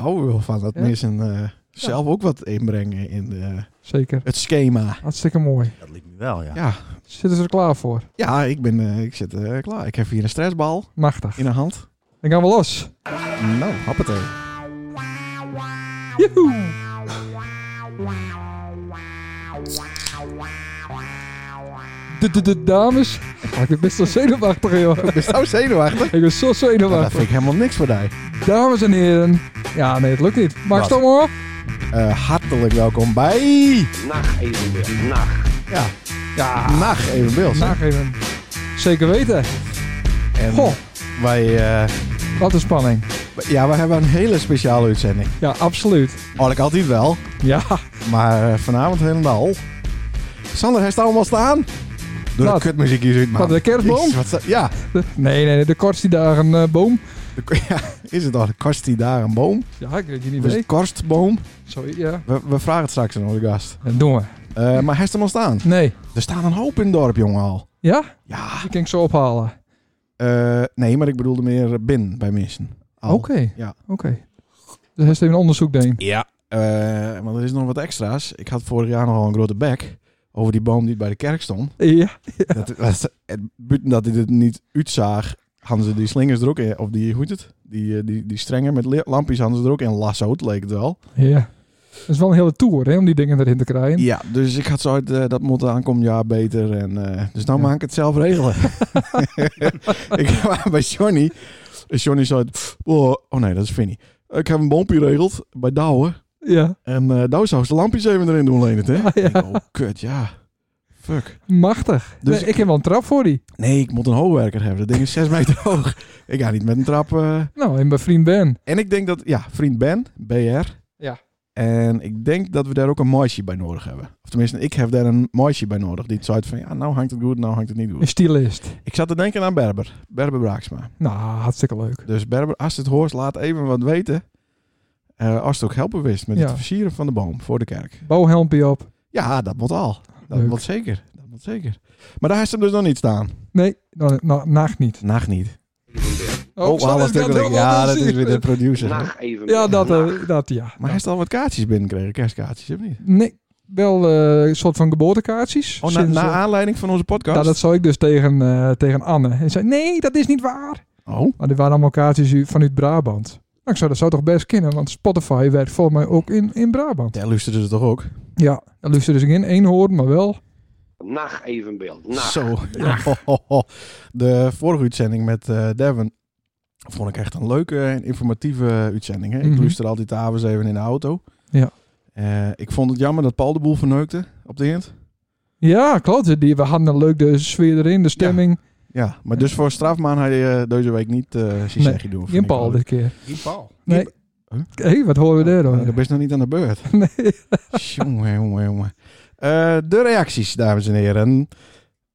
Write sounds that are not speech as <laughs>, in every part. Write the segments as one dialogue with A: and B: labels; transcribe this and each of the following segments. A: houden we wel van dat
B: Ja.
A: mensen eh, zelf ook wat inbrengen in eh,
B: Zeker.
A: het schema.
B: Hartstikke mooi.
C: Dat liep me wel, ja.
A: Oh, Ja,
B: Zitten ze er klaar voor?
A: ja ik, ben, eh, ik zit eh, klaar. Ik heb hier een stressbal
B: Machtig.
A: in de hand.
B: Dan gaan we los.
A: Nou, happatee.
B: Joehoe. De, de, de dames. Ah, Ik ben best wel zenuwachtig, joh.
A: Ik ben zo nou zenuwachtig.
B: Ik ben zo
A: Nou, dat
B: zenuwachtig.
A: vind ik helemaal niks voor jou.
B: Dames en heren. Ja, nee, het lukt niet. Max
C: Wat?
B: Stommer.
A: Eh, hartelijk welkom bij...
D: Nacht Evenbeeld. Nacht.
A: Ja,
B: Ja,
A: Nacht even Bils. hè.
B: nageven. Zeker weten.
A: En
B: Goh,
A: wij, eh,
B: wat een spanning.
A: ja, we hebben een hele speciale uitzending. Oh,
B: Ja, absoluut.
A: Al ik altijd wel,
B: Ja, <laughs>
A: maar eh, vanavond helemaal. Sander, hij staat allemaal staan. Door
B: Wat?
A: de kutmuziek hier uit, man.
B: Wat, de kerstboom?
A: Jezus, wat sta- ja.
B: de- nee, nee, nee, de kortste dagen eh, boom.
A: De k- <laughs> ja, is het al? Korst die daar een boom?
B: Ja, ik weet je niet
A: Is het
B: weet.
A: korstboom?
B: Sorry, ja.
A: We, we vragen het straks aan onze gast.
B: Dat doen we.
A: Eh, maar hij staat al staan.
B: Nee.
A: Er staan een hoop in het dorp, jongen, al.
B: Ja?
A: Ja.
B: Die kan ik zo ophalen.
A: eh, nee, maar ik bedoelde meer binnen bij mensen.
B: Oké.
A: Al. Ja.
B: Oké. Dus hij is even een onderzoek deed.
A: Ja. Eh, want er is nog wat extra's. Ik had vorig jaar nogal een grote bek over die boom die bij de kerk stond.
B: Ja.
A: Dat, dat, het, buiten dat hij het niet uitzaag, hadden ze die slingers er ook in. Of die, hoe heet het? Die, eh, die, die strengen met le- lampjes hadden ze er ook in lassoot, leek het wel.
B: Ja. Dat is wel een hele tour, hè, om die dingen erin te krijgen.
A: Ja, dus ik had zo uit, eh, dat moet aankomend jaar beter. En, eh, dus nou
B: Ja.
A: maak ik het zelf
B: <laughs>
A: regelen. ik was bij Johnny. En Johnny zei, oh, oh nee, dat is Vinnie. Ik heb een bompje geregeld bij Douwe.
B: Ja.
A: En eh Douwe zou ze de lampjes even erin doen, Leendert, hè?
B: Ah, <laughs> ja.
A: Ik denk, oh, kut, ja. Fuck.
B: Machtig.
A: Dus
B: Nee, ik heb wel een trap voor die.
A: Nee, ik moet een hoogwerker hebben. Dat ding is 6 meter <laughs> hoog. Ik ga niet met een trap... eh.
B: Nou, en mijn vriend Ben.
A: En ik denk dat... Ja, vriend Ben, BR.
B: Ja.
A: En ik denk dat we daar ook een mooisje bij nodig hebben. Of tenminste, ik heb daar een mooisje bij nodig. Die het zo uit van, ja, nou hangt het goed, nou hangt het niet
B: Een
A: goed.
B: <laughs> stylist.
A: Ik zat te denken aan Berber. Berber Braaksma.
B: Nou, hartstikke leuk.
A: Dus Berber, als je het hoort, laat even wat weten. Eh, als het ook helpen wist met
B: Ja.
A: het versieren van de boom voor de kerk.
B: Bouwhelmpje op.
A: Ja, dat moet al. Dat
B: Leuk.
A: moet zeker. Dat moet zeker. Maar daar is hem dus nog niet staan.
B: Nee, nou, nou, nacht niet.
A: Nacht niet.
B: Oh,
A: alles
B: sorry, ik had
A: natuurlijk.
B: helemaal
A: Ja, dat
B: gezien.
A: is weer de producer.
D: Nacht Evenbeeld.
B: Ja, dat,
D: Nacht.
B: eh, dat ja.
A: Maar hij heeft al wat kaartjes binnengekregen, kerstkaartjes, of niet?
B: Nee, wel eh, een soort van geboortekaartjes.
A: Oh, na,
B: Sinds,
A: naar
B: eh,
A: aanleiding van onze podcast?
B: nou, dat zou ik dus tegen, eh, tegen Anne. En zei, nee, dat is niet waar.
A: Oh,
B: Maar dit waren allemaal kaartjes u- vanuit Brabant. Nou, ik zou dat zou toch best kennen, want Spotify werkt volgens mij ook in, in Brabant.
A: daar luisterden ze toch ook?
B: Ja, dat luisterde dus geen één hoorn, maar wel. eh,
D: Nacht Evenbeeld. Nacht.
A: Zo. <laughs> Ho, ho, ho. De vorige uitzending met eh Devin vond ik echt een leuke en informatieve uitzending. Hè? Ik
B: Mhm.
A: luister altijd de avonds even in de auto.
B: Ja.
A: Eh, ik vond het jammer dat Paul de boel verneukte op de eind.
B: Ja, klopt. Die, we hadden een leuk de sfeer erin, de stemming.
A: Ja, maar dus voor strafmaan had je eh, deze week niet eh zijn
B: Nee,
A: zegje doen.
B: geen Paul dit keer.
C: Die Paul.
B: Nee.
A: Huh?
B: Hé, wat horen we daar dan?
A: Oh, dan ben je nog niet aan de beurt.
B: <laughs> Nee.
A: jongen, jongen, jongen. Eh, de reacties, dames en heren.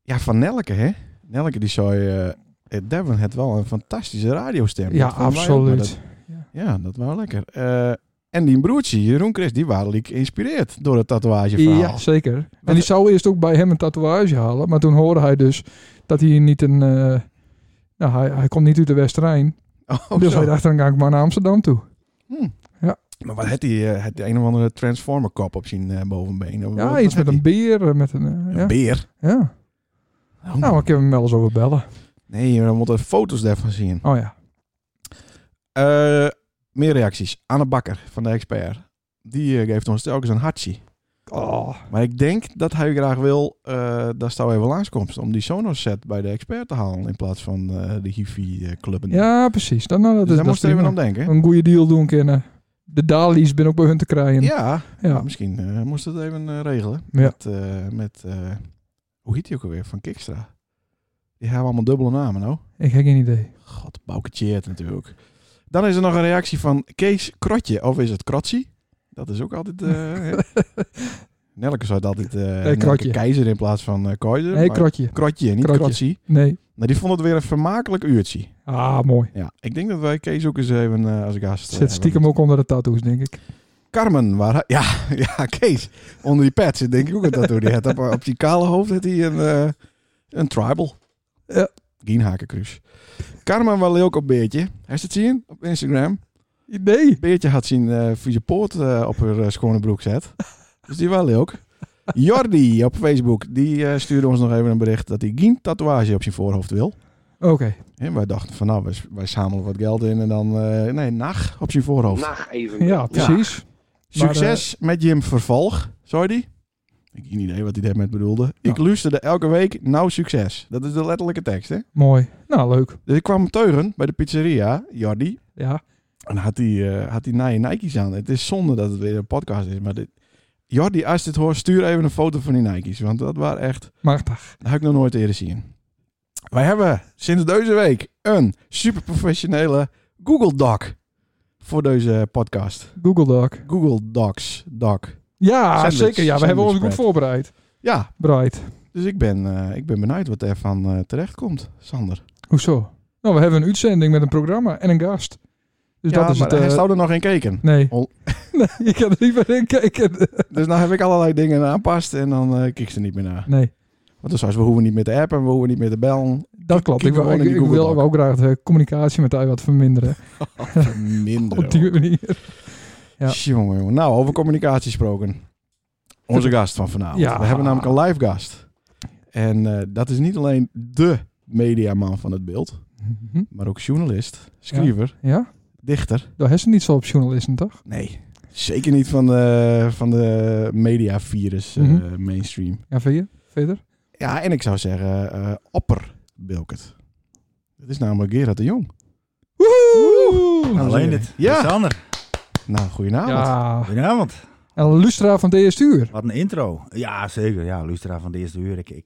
A: Ja, van Nelke, hè? Nelke die zei... eh eh, Devin had wel een fantastische radiostem.
B: Ja,
A: Dat vonden wij ook, maar dat-
B: absoluut.
A: Ja, dat was lekker. Eh, en die broertje, Jeroen Chris, die waren liek geïnspireerd door het tatoeageverhaal.
B: Ja, zeker. En die zou eerst ook bij hem een tatoeage halen. Maar toen hoorde hij dus dat hij niet een... eh, nou, hij, hij komt niet uit de West-Rijn.
A: <laughs> Oh,
B: dus
A: zo.
B: hij dacht, dan ga ik maar naar Amsterdam toe.
A: Hm.
B: Ja.
A: Maar wat had die, eh had die een of andere transformer kop op zijn eh, bovenbeen? Of
B: Ja,
A: wat-
B: iets
A: wat
B: met een
A: had
B: beer. eh, Met een, eh,
A: die?
B: ja.
A: Een beer?
B: ja.
A: Oh,
B: Nou, ik heb hem wel eens over bellen.
A: Nee, we moeten foto's daarvan zien.
B: Oh ja.
A: Eh, meer reacties. Anne Bakker van de expert. Die eh, geeft ons telkens een hartje.
B: Oh,
A: Maar ik denk dat hij graag wil eh dat Stouw even langskomt. Om die Sonos set bij de expert te halen. In plaats van eh, de Hifi-club.
B: ja, precies. Dan, nou, dat
A: dus
B: is,
A: daar
B: dat
A: moest
B: is
A: even aan
B: prima.
A: denken.
B: een goede deal doen kunnen. De Dali's ben ook bij hun te krijgen.
A: Ja,
B: Ja.
A: misschien eh, moest het even eh, regelen.
B: Ja.
A: Met, eh, met eh, hoe heet die ook alweer? Van Kikstra. Die hebben allemaal dubbele namen, nou.
B: Ik heb geen idee.
A: God, bouketeert natuurlijk. Dan is er nog een reactie van Kees Krotje. Of is het Krotsie? Dat is ook altijd... eh,
B: <laughs>
A: hè. Nelke zei het altijd eh Nelke
B: Krotje.
A: Keizer in plaats van eh Keizer.
B: Nee,
A: maar
B: krotje.
A: Krotje, niet
B: Krotje.
A: Krotsie.
B: Nee.
A: Nou, die vond het weer een vermakelijk uurtje.
B: Ah, mooi.
A: Ja, ik denk dat wij Kees ook eens even eh, als gast... eh,
B: Zit stiekem
A: hebben.
B: ook onder de tattoos, denk ik.
A: Carmen, waar hij- ja, <laughs> ja, Kees. Onder die pet zit denk ik ook een tattoo. Die had op, op die kale hoofd had hij een, eh, een tribal.
B: Ja.
A: Geen hakenkruis. Carmen wel leuk op beertje. Hij zit zien op Instagram.
B: Nee.
A: Beertje had zien eh voor je poot eh, op haar eh, schone broek zet. Dus die wel leuk. Jordi op Facebook, die eh, stuurde ons nog even een bericht dat hij geen tatoeage op zijn voorhoofd wil.
B: Oké.
A: En wij dachten van nou, wij, wij zamelen wat geld in en dan, eh, nee, nacht op zijn voorhoofd.
D: Nacht even
B: Ja, precies.
A: Succes met Jim Vervalg, sorry. die? Ik heb geen idee wat hij daarmee bedoelde. Ik luisterde elke week, nou succes. Dat is de letterlijke tekst, hè.
B: Mooi. Nou, leuk.
A: Dus ik kwam teuren bij de pizzeria, Jordi.
B: Ja.
A: En had hij, eh, had hij naaie Nike's aan. Het is zonde dat het weer een podcast is, maar dit... Jordi, als je dit hoort, stuur even een foto van die Nike's. Want dat waren echt...
B: Machtig.
A: Dat heb ik nog nooit eerder zien. Wij hebben sinds deze week een super professionele Google Doc voor deze podcast.
B: Google Doc.
A: Google Docs, Doc.
B: Ja,
A: Sandwich.
B: zeker. Ja, we hebben ons
A: Sandwich
B: goed voorbereid.
A: Ja,
B: Bright.
A: dus ik ben, eh, ik ben benieuwd wat er van eh, terecht terechtkomt, Sander.
B: Hoezo? Nou, we hebben een uitzending met een programma en een gast. Dus
A: ja,
B: dat is
A: maar
B: het. eh,
A: hij zou er nog in
B: <laughs>
A: keken.
B: Nee.
A: Ol-
B: nee, je kan er niet meer in
A: <laughs>
B: kijken.
A: Dus nou heb ik allerlei dingen aanpast en dan eh, kijk ik ze niet meer naar.
B: Nee,
A: Want dus als we hoeven niet meer te appen, we hoeven niet meer te
B: <laughs>
A: bellen.
B: dat klopt.
A: kijk
B: Ik, wil-
A: gewoon
B: ik,
A: in die
B: ik
A: Google
B: wil
A: Doc.
B: ook graag de communicatie met jou wat verminderen.
A: Minder.
B: Op die manier. Ja.
A: Jongen, jongen. Nou, over communicatie gesproken. Onze gast van vanavond.
B: Ja.
A: We hebben namelijk een live gast. En eh, dat is niet alleen de mediaman van het beeld,
B: Mhm.
A: maar ook journalist, schrijver,
B: Ja?
A: dichter.
B: Daar is het niet zo op journalisten, toch?
A: Nee, zeker niet van de, van de mediavirus eh,
B: Mhm.
A: mainstream.
B: Ja, vind je? Verder?
A: Ja, en ik zou zeggen, eh opper Bilkert. Dat is namelijk Gerard de Jong.
B: Woehoe!
A: Nou,
C: Alleen dit.
A: Ja.
C: Sander,
A: Nou, goedenavond.
B: Ja,
C: goedenavond.
B: en een lustra van de eerste uur.
C: Wat een intro. Ja, zeker. Ja, luisteraar van de eerste uur. Ik, ik,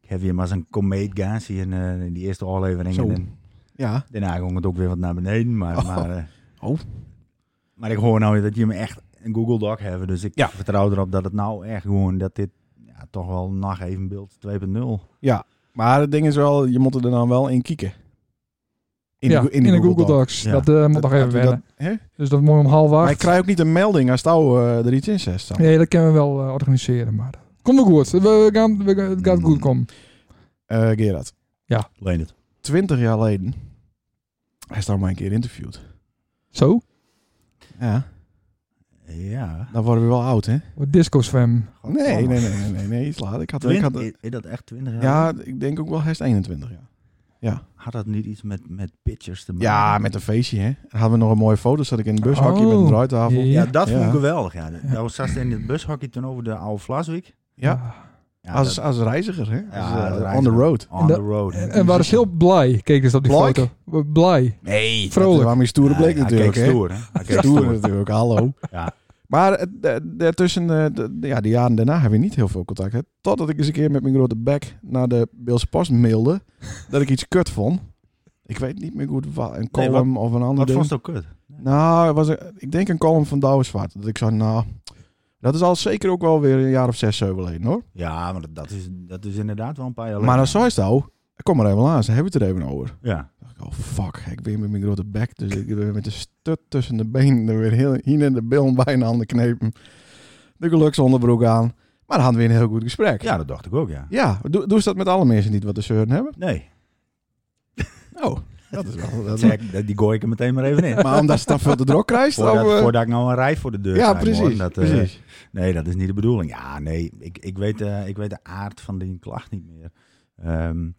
C: ik heb hier maar zo'n komeet gaas hier in, eh, in die eerste aflevering.
A: Zo.
C: En dan-
A: Ja,
C: daarna ging het ook weer wat naar beneden. Maar,
A: Oh.
C: maar, eh,
A: Oh.
C: maar ik hoor nou dat je me echt een Google Doc hebben. Dus ik
A: Ja.
C: vertrouw erop dat het nou echt gewoon, dat dit ja, toch wel nog even beeld 2.0.
A: maar het ding is wel, je moet er dan wel in kieken. de
B: ja,
A: Go-
B: in de Google, Docs.
C: Ja.
B: Dat eh, moet nog
A: Dat-
B: even
A: dat-
B: wennen.
A: dat- hè?
B: Dus dat moet om half
A: Maar ik
B: acht.
A: krijg ook niet een melding als touw eh er iets in zet. staan.
B: Nee, dat kunnen we wel eh, organiseren, maar... Komt wel goed. We gaan, we, gaan- het gaat goed komen.
A: Eh, Gerard,
C: Leen het.
A: twintig jaar geleden hij is daar maar een keer interviewd.
B: Zo?
A: Ja,
C: Ja.
A: dan worden we wel oud, hè?
B: Wat Disco Swam.
A: Nee, nee, nee, nee, nee, nee, iets later. Ik had, ik had,
C: Twint- is- is dat echt 20 jaar?
A: ja, ik denk ook wel hij is 21 jaar.
C: Had dat niet iets met, met pictures te maken?
A: Ja, met een feestje, hè? Dan hadden we nog een mooie foto. Zat ik in een bushokje met een
B: Oh.
A: draaitafel.
B: Ja.
C: Ja, dat vond
A: Ja.
C: ik geweldig. Ja. Nou, we zaten in het bushockey toen over de oude Vlaswijk.
A: Ja.
B: Ah.
C: Ja,
A: als,
C: dat-
A: als reiziger, hè?
C: ja,
A: Als, eh,
C: dat
A: on
C: reizen.
A: the road.
C: On the
B: En
C: road.
B: En, en waren ze heel blij, keek dus op die
A: Blijk?
B: foto. Blij.
A: Nee,
B: Vrolijk.
A: Dat was stoere blik
C: Ja,
A: natuurlijk,
C: Hij
A: hè?
C: keek stoer, hè? Hij keek
A: Stoer
C: stoer.
A: natuurlijk, <laughs> hallo.
C: Ja.
A: Maar eh, d- daartussen, eh, d- ja, de jaren daarna heb je niet heel veel contact. Hè? Totdat ik eens een keer met mijn grote bek naar de Beelse Post mailde dat ik iets kut vond. Ik weet niet meer goed wat, een
C: Nee,
A: column of een ander
C: Dat
A: ding.
C: vond ze ook kut.
A: Nou, het was een- ik denk een column van Douwe Zwart. Dat ik zei, nou, dat is al zeker ook wel weer een jaar of zes, zeven geleden hoor.
C: Ja, maar dat- dat is, dat is inderdaad wel een paar jaar
A: Maar dan
C: dat
A: zei ze nou, kom maar even langs, dan hebben we het er even over.
C: Ja.
A: dacht ik, oh fuck, ik ben met mijn grote bek. Dus ik ben met de stut tussen de benen er weer heel, hier in de bil bijna aan de knepen. De geluksonderbroek aan. Maar dan hadden we een heel goed gesprek.
C: ja, dat dacht ik ook, ja.
A: Ja, doe, doe ze dat met alle mensen die het wat te zeuren hebben?
C: Nee,
A: Oh, dat is wel... Dat is wel-
C: Zeg, dat- die gooi ik er meteen maar even in.
A: maar omdat ze het dan veel te drok
C: <laughs>
A: krijgt?
C: Voordat,
A: of, eh,
C: voordat ik nou een rij voor de deur
A: ja,
C: krijg, hoor.
A: precies.
C: Dat, eh,
A: precies.
C: Nee, dat is niet de bedoeling. Ja, nee, ik, ik, weet, eh, ik weet de aard van die klacht niet meer. Ehm,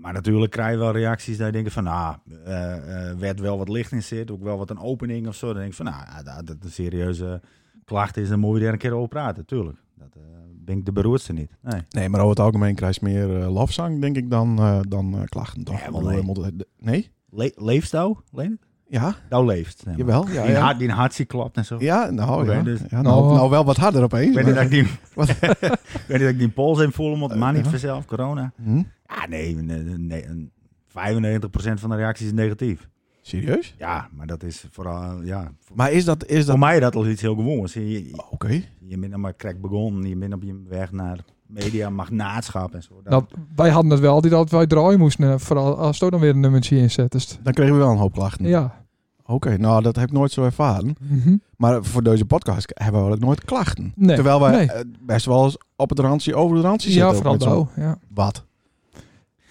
C: maar natuurlijk krijg je wel reacties dat je denkt van, ah, eh, eh, werd wel wat licht in zit, ook wel wat een opening of zo. Dan denk ik van, nou, ja, dat dat een serieuze klacht is, dan moet je daar een keer over praten, tuurlijk. Dat eh ben ik de beroerdste niet. Nee.
A: Nee, maar over het algemeen krijg je meer eh, lofzang, denk ik, dan, eh, dan eh, klachten. Toch?
C: Ja,
A: Ik
C: wel,
A: bedoel,
C: nee.
A: je moet het- Nee?
C: Le leeft nou, Leen?
A: Ja,
C: Nou leeft. Nee, maar.
A: jawel. Ja,
C: Die,
A: ja.
C: hart, die hartstiek klopt en zo.
A: Ja, nou,
C: Oké,
A: ja.
C: dus-
A: Ja, nou,
B: Oh.
A: nou wel wat harder opeens.
C: Ik weet niet
A: maar-
C: dat ik die,
A: <laughs> Wat? Eh, uh-huh.
C: ik weet niet dat <laughs> ik die pols in voel, want maar niet
A: ja.
C: vanzelf, corona.
A: Hm?
C: Ja, nee, nee, nee, een 95% van de reacties is negatief.
A: Serieus?
C: Ja, maar dat is vooral, ja. Voor,
A: Maar is dat... Is dat...
C: voor mij dat al iets heel gewoons. Je, je,
A: Oh, Oké.
C: je bent dan maar krek begonnen, je bent op je weg naar media, magnaatschap en zo. Dat-
B: Nou, wij hadden het wel altijd dat wij draaien moesten. eh, Vooral als er dan weer een nummertje in zet. Dus,
A: Dan kregen we wel een hoop klachten.
B: ja.
A: Oké, nou dat heb ik nooit zo ervaren.
B: Mhm.
A: Maar voor deze podcast hebben we ook nooit klachten.
B: Nee,
A: Terwijl wij
B: nee.
A: eh, best wel eens op het randje, over het randje
B: Ja,
A: zitten.
B: vooral
A: ook met zo'n-
B: zo. Ja.
A: Wat?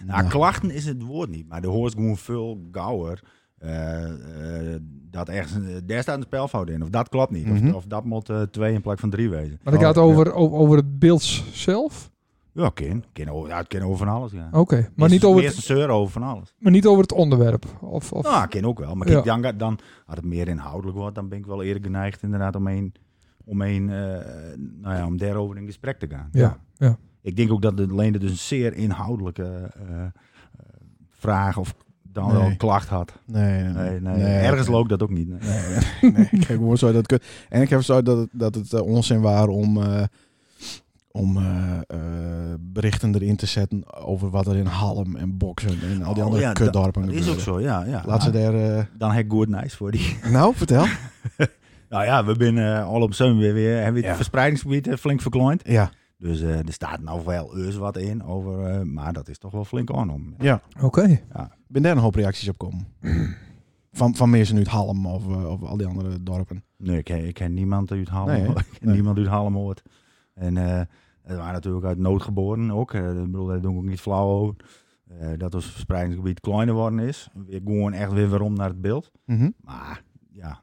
C: nou, klachten is het woord niet, maar de hoort gewoon veel gauwer. eh, eh, eh, dat ergens, een- daar staat een spelfout in. Of dat klopt niet. Of-
A: Mhm.
C: Of, dat moet eh, twee in plaats van drie wezen.
B: Maar dat
A: Oh,
B: gaat over, over, over het beeld zelf?
C: Ja, kind. Kind over, ja, het kan over van alles. Ja.
B: Oké, Oh, maar, niet over
C: Meer
B: het-
C: zeuren over van alles.
B: maar niet over het onderwerp? Of, of...
A: Ah.
C: Nou, kind ook wel. Maar
B: Ja.
C: kijk, dan, ga- dan, als het meer inhoudelijk wordt, dan ben ik wel eerder geneigd inderdaad om een, om een eh, nou ja, om daarover in gesprek te gaan.
B: Ja, ja.
C: Ik denk ook dat het Leende dus een zeer inhoudelijke eh, eh, vraag of dan wel
A: Nee.
C: een klacht had.
A: Nee, nee,
C: Nee, nee,
A: nee.
C: ergens loopt dat ook niet. nee.
A: Nee, nee, nee. <laughs> Ik heb gewoon zo dat kut. En ik heb zo dat het, dat het eh, onzin was om, eh, om eh, eh, berichten erin te zetten over wat er in Halm en Boksen en al die
C: Oh,
A: andere
C: ja, dat-
A: kutdorpen
C: Dat is
A: gebeurde.
C: ook zo, ja. ja.
A: Laat ze daar... eh,
C: Dan heb ik goed nice voor die. <laughs>
A: <laughs> nou, vertel.
C: Nou ja, we zijn eh, al op zo'n weer weer. Hebben we het
A: Ja.
C: verspreidingsgebied eh, flink verkleind.
A: Ja,
C: Dus eh, er staat nou wel eens wat in over. eh, maar dat is toch wel flink aan om.
A: ja.
B: Oké.
A: Ik ben daar een hoop reacties op <clears throat> komen. Van, van mensen uit Halm of, eh, of al die andere dorpen.
C: Nee, ik, ken- ik ken niemand uit Halm.
A: Nee, hè?
C: ik ken
A: Nee.
C: niemand uit Halm hoort. En eh het waren natuurlijk uit nood geboren ook. Eh, ik bedoel, daar doe ik ook niet flauw over. Eh, dat ons verspreidingsgebied kleiner geworden is. We gewoon echt weer waarom naar het beeld.
A: Mhm.
C: Maar ja,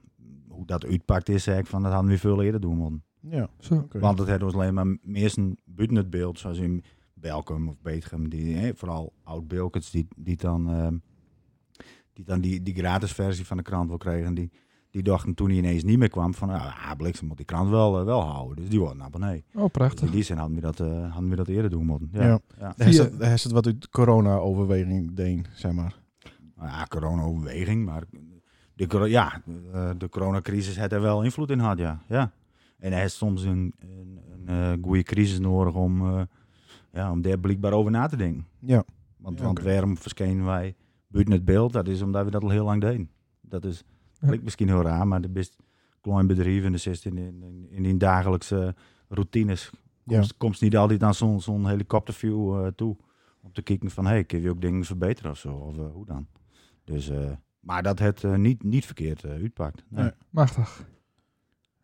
C: hoe dat uitpakt is, zeg ik van dat hadden we veel eerder doen moeten.
A: Ja,
B: Zo.
A: oké.
C: Want het heeft ons alleen maar meesten buiten het beeld, zoals in Belkum of Betegem, die, hè, vooral oud-Belkens, die, die dan, ehm, die, dan die, die gratis versie van de krant wil kregen. Die, die dachten toen hij ineens niet meer kwam van, ah, Bliksem moet die krant wel, eh, wel houden. Dus die wordt een abonnee.
B: Oh,
C: Dus
B: prachtig.
C: in die zin hadden we dat, eh, hadden we dat eerder doen moeten. Ja.
A: Ja.
C: Ja.
A: Daar is het- daar is het wat uit corona-overweging deen, zeg maar.
C: Nou ja, corona-overweging, maar de, coro- ja, eh, de coronacrisis had er wel invloed in gehad, ja. ja. En hij heeft soms een, een, een eh, goede crisis nodig om, eh, ja, om daar blijkbaar over na te denken.
A: Ja.
C: Want,
A: Ja,
C: want
A: oké.
C: waarom verschenen wij buiten het beeld? Dat is omdat we dat al heel lang deden. Dat is
B: Ja.
C: klinkt misschien heel raar, maar de best klein bedrijf en de zit in, in, in, in die dagelijkse routines.
A: Ja.
C: Komt, komt niet altijd aan zo'n zo'n helikopterview eh, toe. Om te kijken van, hey, kun je ook dingen verbeteren of zo? Of eh, hoe dan? Dus, eh, maar dat het eh, niet, niet verkeerd eh, uitpakt. Nee.
A: Nee.
B: Machtig.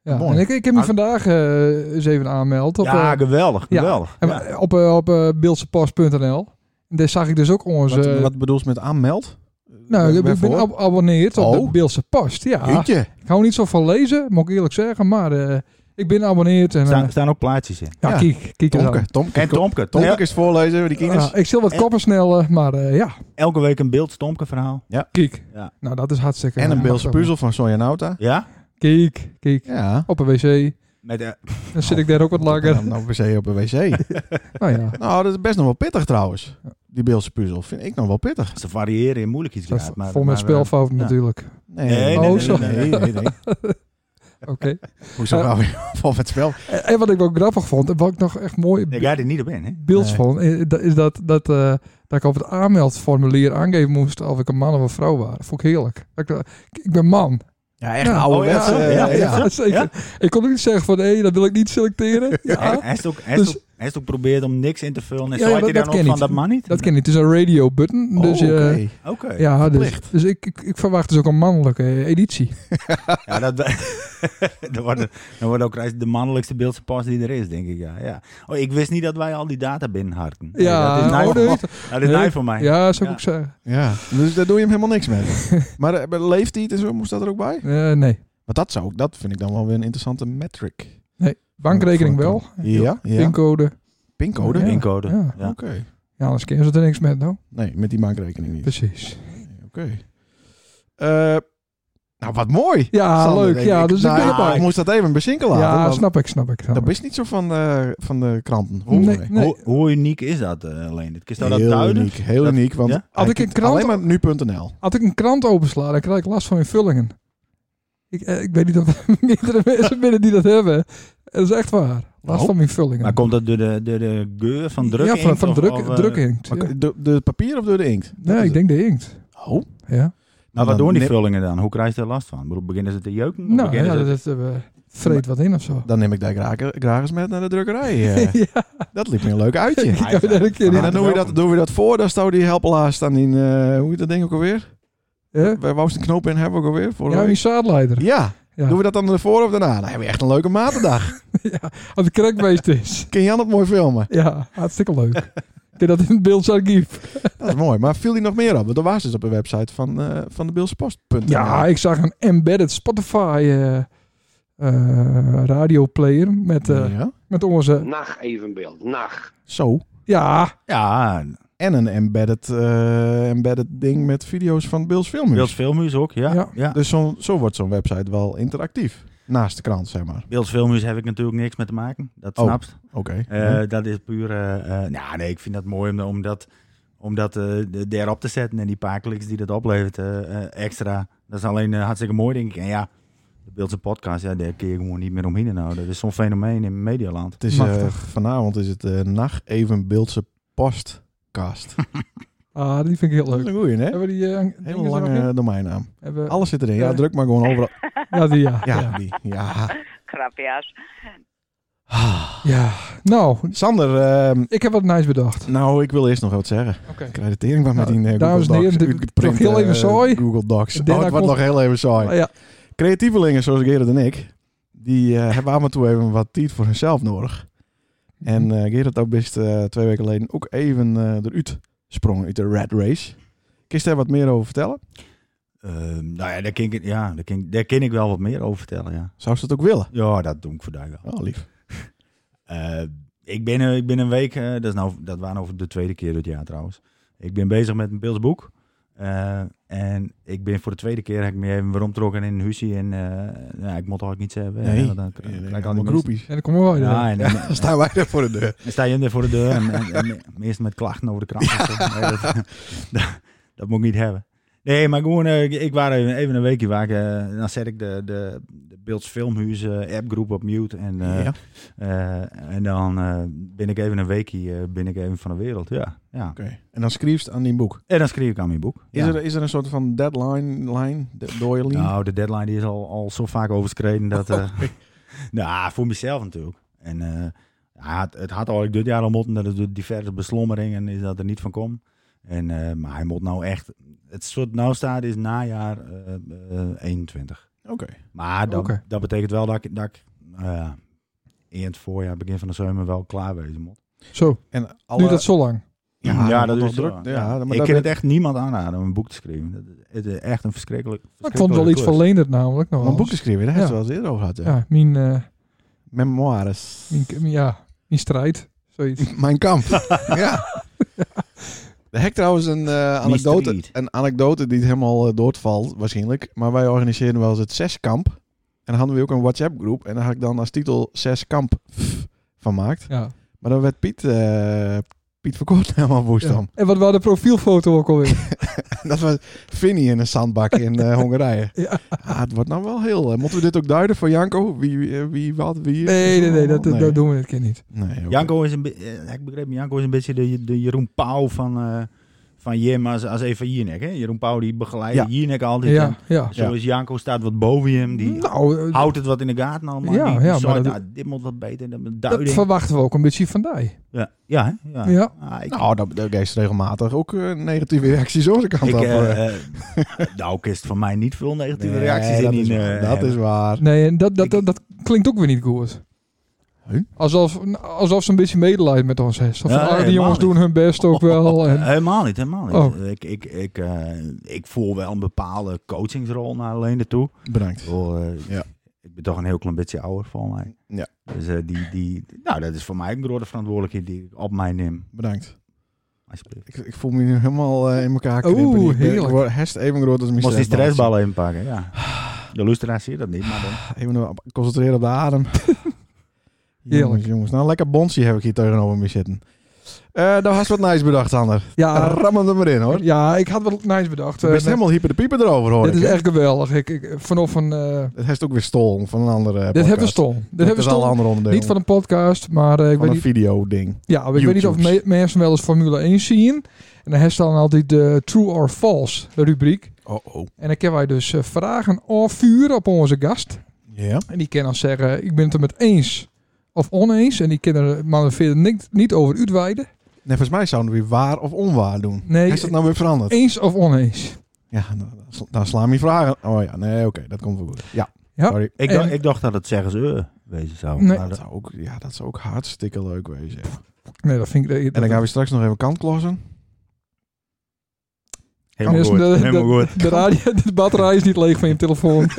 B: Ja,
A: Mooi. Ah.
B: en ik, ik heb me
C: Maar-
B: vandaag eh, eens even aanmeld. Op,
C: ja,
B: eh,
C: geweldig,
B: ja.
C: geweldig.
B: en-
C: Ja.
B: op, eh, op eh, beeldsepost.nl. En daar zag ik dus ook onze...
A: Wat, wat bedoel je met aanmeld? Eh,
B: nou, ik ben
A: Waarvoor?
B: geabonneerd op de
A: Oh.
B: Beeldse Post. Ja,
A: Jeetje.
B: ik hou niet zo van lezen, moet ik eerlijk zeggen. Maar eh, ik ben abonneerd. En, eh,
C: Staan, staan ook plaatjes in.
B: ja,
A: ja.
B: kijk, kijk eens aan.
A: Tomke, Tomke.
C: En Tomke.
A: Tomke
C: Ja,
A: is voorlezen, die kinders.
B: Ja, Ah, ik stel wat
C: En-
B: koppen snel, maar eh, ja,
C: elke week een beeld Tomke verhaal.
B: kijk.
C: Ja.
B: Nou, dat is hartstikke...
A: En een
B: ja,
A: Beelse
B: hartstikke
A: puzzel van Sonja Nauta.
C: Ja?
B: mooi. Kijk, kijk.
A: Ja.
B: Op een wc.
C: Met, eh,
B: Dan zit ik daar ook wat langer.
A: Nou, wc op een wc. <laughs>
B: Nou ja,
A: nou, dat is best nog wel pittig trouwens. Die Beelse puzzel vind ik nog wel pittig.
C: ze variëren in moeilijkheidsgraad.
B: dat is
C: maar-
B: vol met
C: maar, eh,
B: spelfouten
C: ja.
B: natuurlijk.
A: Nee,
C: Nee,
B: nee,
A: oh,
B: nee,
A: zo. <laughs>
C: nee,
A: nee, nee,
B: <laughs>
A: nee.
B: Oké.
A: Hoezo
B: Eh,
A: gaan we <laughs> vol met spel?
B: En en wat ik ook grappig vond, en wat ik nog echt mooi
C: Ik ga er niet op in, hè?
B: beeld
A: Nee.
B: vond, eh, dat- is dat, dat, eh, dat ik op het aanmeldformulier aangeven moest of ik een man of een vrouw was. Dat vond ik heerlijk. Dat ik, eh, ik- ik ben man.
A: Ja, echt
B: Ja.
A: ouderwets.
C: Oh, ja,
A: eh,
C: ja,
A: ja.
B: dat is zeker.
C: Ja?
B: Ik kon ook niet zeggen van, hé, dat wil ik niet
A: <laughs>
B: selecteren.
C: Hij,
B: Ja,
C: hij is ook, hij
B: Dus-
C: is ook, hij is ook probeert om niks in te vullen. En
B: Ja,
C: zo
B: ja,
C: had hij
B: dat-
C: dan
B: dat
C: ook
B: ken
C: van
B: niet.
C: dat mag niet.
B: dat ken niet. Het is een radio button. Dus,
A: Oh,
B: eh,
A: oké.
C: Oké.
B: ja, dus,
A: verplicht.
B: dus ik, ik, ik verwacht dus ook een mannelijke eh, editie.
C: Ja, dat, <laughs> dan, wordt, het- dan wordt ook reis de mannelijkste beeldse pas die er is, denk ik. Ja, ja. Oh, ik wist niet dat wij al die data binnenharken. Nee,
B: Ja,
C: dat is
B: oh,
C: nijf
B: nee.
C: dat is
B: Nee.
C: nijf voor mij.
B: Ja, zou ik
C: Ja.
B: ook zeggen.
A: nou Ja, dus daar doe je hem helemaal niks
C: <laughs>
A: mee. maar eh, bij leeftijd en zo moest dat er ook bij?
B: <laughs> Eh, nee.
A: Maar dat, zou, ik- dat vind ik dan wel weer een interessante metric.
B: Bankrekening wel.
A: Ja, ja.
B: Pincode.
A: Pincode?
B: Ja.
C: Pincode.
B: Ja.
C: Ja.
A: Oké.
B: Ja, anders kennen ze er niks met, nou.
A: Nee, met die bankrekening niet.
B: Precies.
A: Oké. Eh, nou, wat mooi.
B: Ja,
A: Sander,
B: leuk.
A: denk
B: Ja,
A: ik.
B: dus ik
A: Nou,
B: ben
A: ik,
B: erbij.
A: moest dat even bezinken laten.
B: Ja,
A: want
B: snap ik, snap ik. snap
A: Dat
B: ik.
A: is niet zo van de, van de kranten.
B: Nee,
A: volgens mij.
B: nee.
C: Hoe, hoe uniek is dat, eh Leen? Het is nou dat
A: heel
C: duiden?
A: uniek, heel
C: Dat-
A: uniek. Want
C: Ja?
A: hij
B: Had ik
A: kijkt
B: een krant-
A: Alleen maar nu.nl.
B: Als ik een krant opensla, dan krijg ik last van invullingen. Ik, eh, ik weet niet of <laughs> er meerdere mensen binnen die dat hebben. Dat is echt waar. Last
A: Nou,
B: van invullingen.
C: Maar komt dat door de, door de geur van druk?
B: Ja, van, van druk,
C: eh,
B: druk
A: Maar de, de papier of door de inkt? Dat
B: Nee,
A: is
B: ik denk de inkt.
A: het. Oh.
B: Ja.
C: Nou, wat
A: Dan
C: doen die
A: neem-
C: vullingen dan? Hoe krijg je er last van? Ik bedoel, Beginnen ze te jeuken? Of
B: Nou,
C: beginnen
B: ja,
C: ze-
B: dat, dat eh, vreet wat in of zo.
A: Dan neem ik daar graag, graag eens met naar de drukkerij.
B: <laughs>
A: eh.
B: ja,
A: dat liep me een leuk
B: <laughs>
A: uitje.
C: Ah,
B: ik heb daar een keer
A: En
B: in.
A: dan doen we, dat, doen we dat voor. Dan staan die helpelaar staan in... eh, hoe heet dat ding ook alweer?
B: Hè?
A: Wij wou een knoop in hebben ook alweer. Vorige
B: Ja, die
A: week.
B: zaadleider.
A: ja.
B: Ja.
A: Doen we dat dan ervoor of daarna? Dan hebben we echt een leuke matendag.
B: Als de crackbeest is.
A: Kun Jan het mooi filmen?
B: Ja, hartstikke leuk. Kun je dat in het beeldsarchief?
A: Dat is mooi. Maar viel die nog meer op? Want er was dus op de website van, eh, van de Beelspost.nl.
B: Ja, ik zag een embedded Spotify eh eh, radioplayer met, eh,
A: ja.
B: met onze...
D: Nacht evenbeeld. Nacht.
A: Zo.
B: Ja,
C: Ja,
A: En een embedded, eh, embedded ding met video's van Beels Filmmuur.
C: Beels Filmhuis ook, ja.
B: Ja.
C: ja. ja.
A: Dus zo, zo wordt zo'n website wel interactief. Naast de krant, zeg maar.
C: Beels Filmhuis heb ik natuurlijk niks mee te maken, dat
A: Oh.
C: snapt.
A: Oké.
C: Eh, Dat is puur... eh, eh, nou, nee, ik vind dat mooi om, om dat, om dat eh, de- daarop te zetten. En die paar kliks die dat oplevert eh, eh, extra. Dat is alleen eh, hartstikke mooi, denk ik. En ja, de Beeldse podcast, ja, daar kun je gewoon niet meer omheen. Nou, dat is zo'n fenomeen in Medialand.
A: het is, eh,
B: machtig.
A: vanavond is het eh Nacht Even Beeldse
B: <laughs>
A: Postkast.
B: ah, die vind ik heel
A: Dat is
B: leuk.
A: een goeie, hè?
B: Hebben we die... eh, dingen
A: Hele
B: er nog in?
A: lange domeinnaam.
B: Hebben we-
A: Alles zit erin. Ja,
B: Ja.
A: druk maar gewoon overal.
B: Ja, die, ja.
A: <laughs> Ja,
B: ja.
A: die. Ja.
E: Gracias.
B: Ja. Nou,
A: Sander, ehm,
B: ik heb wat nice bedacht.
A: nou, ik wil eerst nog wat zeggen.
B: Oké.
A: Ik krijg de tering van met die
B: Nou,
A: eh, Google
B: dames en heren,
A: Docs.
B: dit-
A: uitgeprinte,
B: toch heel even
A: eh,
B: saai.
A: Google Docs.
B: Daarna
A: Oh, het wordt
B: komt-
A: nog heel even saai.
B: Ah, Ja.
A: Creatievelingen zoals Gerrit en ik, die eh, hebben af en toe even wat tijd voor hunzelf nodig. En eh Gerrit ook best eh, twee weken geleden ook even eh, eruit sprong uit de Red Race. Kun je daar wat meer over vertellen?
C: Eh, nou ja, daar kan, ik, ja daar, kan, daar kan ik wel wat meer over vertellen, ja.
A: Zou ze dat ook willen?
C: Ja, dat doe ik vandaag wel.
A: Oh, lief.
C: Eh, ik, ben, eh, ik ben een week, eh, dat, is nou, dat waren over de tweede keer dit jaar trouwens. Ik ben bezig met een beeldsboek. Eh, en ik ben voor de tweede keer heb ik me even weer omtrokken in een huisje. En eh, nou, ik moet eigenlijk niets hebben.
A: Nee.
C: hè, want dan krijg ik al die
A: Allemaal groepies. <laughs>
B: En dan komen we wel.
C: Ja, en, en-
A: Dan staan wij daar voor de
C: <laughs>
A: deur.
C: dan sta je er voor de deur en, en, en meestal met klachten over de
A: <laughs>
C: krant. of zo. Nee, dat, <laughs> dat, dat moet ik niet hebben. Nee, maar gewoon, eh, ik, ik was even, even een weekje waar ik, eh, dan zet ik de, de, de Beelds Filmhuis eh, appgroep op mute. En, eh,
A: ja.
C: eh, en dan eh, ben ik even een weekje eh, ben ik even van de wereld. Ja, ja.
A: Oké. En dan schreefst aan die boek.
C: En dan schreef ik aan mijn boek.
A: Is,
C: Ja.
A: er, is er een soort van deadline, line, de- doorlijn?
C: Nou, de deadline die is al, al zo vaak overschreden
A: <laughs>
C: dat. eh, nou, voor mezelf natuurlijk. En eh, ja, het, het had al dit jaar al moeten, dat het door diverse beslommeringen is dat er niet van kom. En, eh, maar hij moet nou echt. Het soort nou staat is najaar eh, eh, 21.
A: Oké.
C: Maar dat,
B: Oké.
C: dat betekent wel dat ik, dat ik eh, in het voorjaar, begin van de zomer, wel klaar wezen moet.
B: Zo,
A: En
B: nu
A: alle-
B: dat zo lang.
A: Ja, dat
C: nog
A: is druk. Ja, maar
C: ik
A: dat
C: kan
A: ben-
C: het echt niemand aanraden om een boek te schrijven. Dat is- Het is echt een verschrikkelijk.
B: Maar ik vond het wel iets
C: verschrikkelijke
B: verleenderd namelijk. Nog
A: Om
B: wel
A: een boek
B: eens.
A: te schrijven, daar hebben
B: Ja.
A: we het wel eens eerder over gehad. Ja.
B: Ja, mijn, eh,
A: Memoires.
B: mijn, mijn- ja, mijn strijd. Zoiets.
A: Mijn
B: <laughs>
A: kamp. ja. Er hek trouwens een eh, anekdote,
C: Mysterie.
A: een anekdote die het helemaal eh, doortvalt, waarschijnlijk. Maar wij organiseren wel eens het zeskamp. En dan hadden we ook een WhatsApp-groep. En daar had ik dan als titel zeskamp pff, van maakt.
B: Ja.
A: Maar dan werd Piet, eh Piet verkocht <laughs> helemaal woest
B: Ja.
A: om.
B: En wat was de profielfoto ook
A: <laughs>
B: alweer?
A: Dat was Vinnie in een zandbak in eh, Hongarije.
B: <laughs> Ja.
A: Ah, het wordt nou wel heel... eh, moeten we dit ook duiden voor Janko? Wie, wie, eh, wie wat, wie...
B: Nee, nee, nee, dat, dat doen we dit keer niet.
A: Nee, oké.
C: Janko is een beetje, ik begreep, Janko is een beetje de, de Jeroen Pauw van, eh, van Jim als, als even Jinek. Hè? Jeroen Pauw die begeleidt
A: Ja.
C: Jinek altijd.
B: Ja,
C: En
B: ja.
C: Zo is Janko staat wat boven hem, die
B: Nou, eh,
C: houdt het wat in de gaten allemaal.
B: Ja,
C: die, die
B: ja, maar
C: zegt,
B: dat-
C: "Ah, dit moet wat beter, dat moet
B: dat
C: duiding.
B: verwachten we ook een beetje van die.
C: Ja, ja, hè? ja.
B: Ja.
C: Ah, ik,
A: Nou, dat, dat geeft regelmatig ook eh, negatieve reacties onze kant
C: ik,
A: op. eh.
C: eh, eh, nou, kist van mij niet veel negatieve
A: Nee,
C: reacties
A: dat
C: in.
A: Is
C: die,
A: waar,
C: eh,
A: dat is
C: hebben.
A: waar.
B: Nee, en dat, dat,
C: Ik-
B: dat, dat klinkt ook weer niet goed.
A: Huh?
B: Alsof, alsof ze een beetje medelijden met ons heeft. Zo van,
C: Nee,
B: ah, die
C: helemaal
B: jongens
C: niet.
B: doen hun best ook
A: <laughs>
B: wel. En,
C: Oh, Helemaal niet, helemaal niet.
B: Oh.
C: Ik, ik, ik, eh, ik voel wel een bepaalde coachingsrol naar alleen toe.
A: Bedankt.
C: Oh, eh,
A: Ja.
C: Ik ben toch een heel klein beetje ouder voor mij.
A: Ja.
C: Dus eh, die, die, nou, dat is voor mij een grote verantwoordelijkheid die ik op mij neem.
A: Bedankt.
C: Alsjeblieft.
A: Ik, ik voel me nu helemaal eh, in elkaar
B: Oeh,
A: krimpen. Ik ben-
B: heerlijk.
A: Ik word herst even groot als mijn
C: Moest die
A: stressballetje.
C: stressballen inpakken,
A: <sighs>
C: ja. De luisteraar zie je dat niet, maar dan...
A: Even op- concentreren op de <laughs> adem. jongens, jongens. Nou, lekker bonsie heb ik hier tegenover me zitten. Eh nou, had wat nice bedacht, Sander. Eh,
B: ja,
A: Ram hem er maar in, hoor. Je
B: ja, ik had wel nice bedacht.
A: bent
B: Eh, net-
A: helemaal hyper de pieper erover, hoor
B: Dit
A: ik,
B: is
A: hè?
B: echt geweldig. Ik, ik, vanaf een, eh,
A: Het heeft ook weer stol van een andere eh,
B: dit
A: podcast.
B: hebben we stom. Dit
A: Dat
B: hebben we
A: is al een
B: stom.
A: ander onderdeel.
B: Niet van een podcast, maar eh,
A: Van
B: ik, weet
A: een
B: niet,
A: video-ding.
B: ja, ik weet niet of me-
A: YouTubes.
B: mensen wel eens Formule 1 zien. En dan heeft ze dan altijd de True or False rubriek.
A: Oh, oh.
B: En dan kunnen wij dus eh, vragen of vuren op onze gast.
A: Ja?
B: En die kan dan zeggen, ik ben het er met eens of oneens. En die kunnen er maar verder niet, niet over uitweiden.
A: Nee, volgens mij zouden we weer waar of onwaar doen.
B: Nee, eh,
A: is dat nou weer veranderd?
B: Eens of oneens.
A: Ja, nou, dan sla- dan slaan je vragen. Oh ja, nee, oké, dat komt wel goed. Ja,
B: Ja.
A: sorry.
C: Ik,
B: En-
C: dacht, ik dacht dat het zeggen ze eh, wezen zou.
B: Nee.
C: maar
A: nou, Dat
C: dat-
A: zou ook, ja, dat zou ook hartstikke leuk wezen. ja.
B: Nee, dat vind ik...
A: En dan gaan we straks nog even kantlossen.
C: Helemaal
B: Eerst
C: goed.
B: dus de- de-
C: Helemaal goed.
B: De, radio, de batterij is niet leeg van je
A: <laughs>
B: telefoon.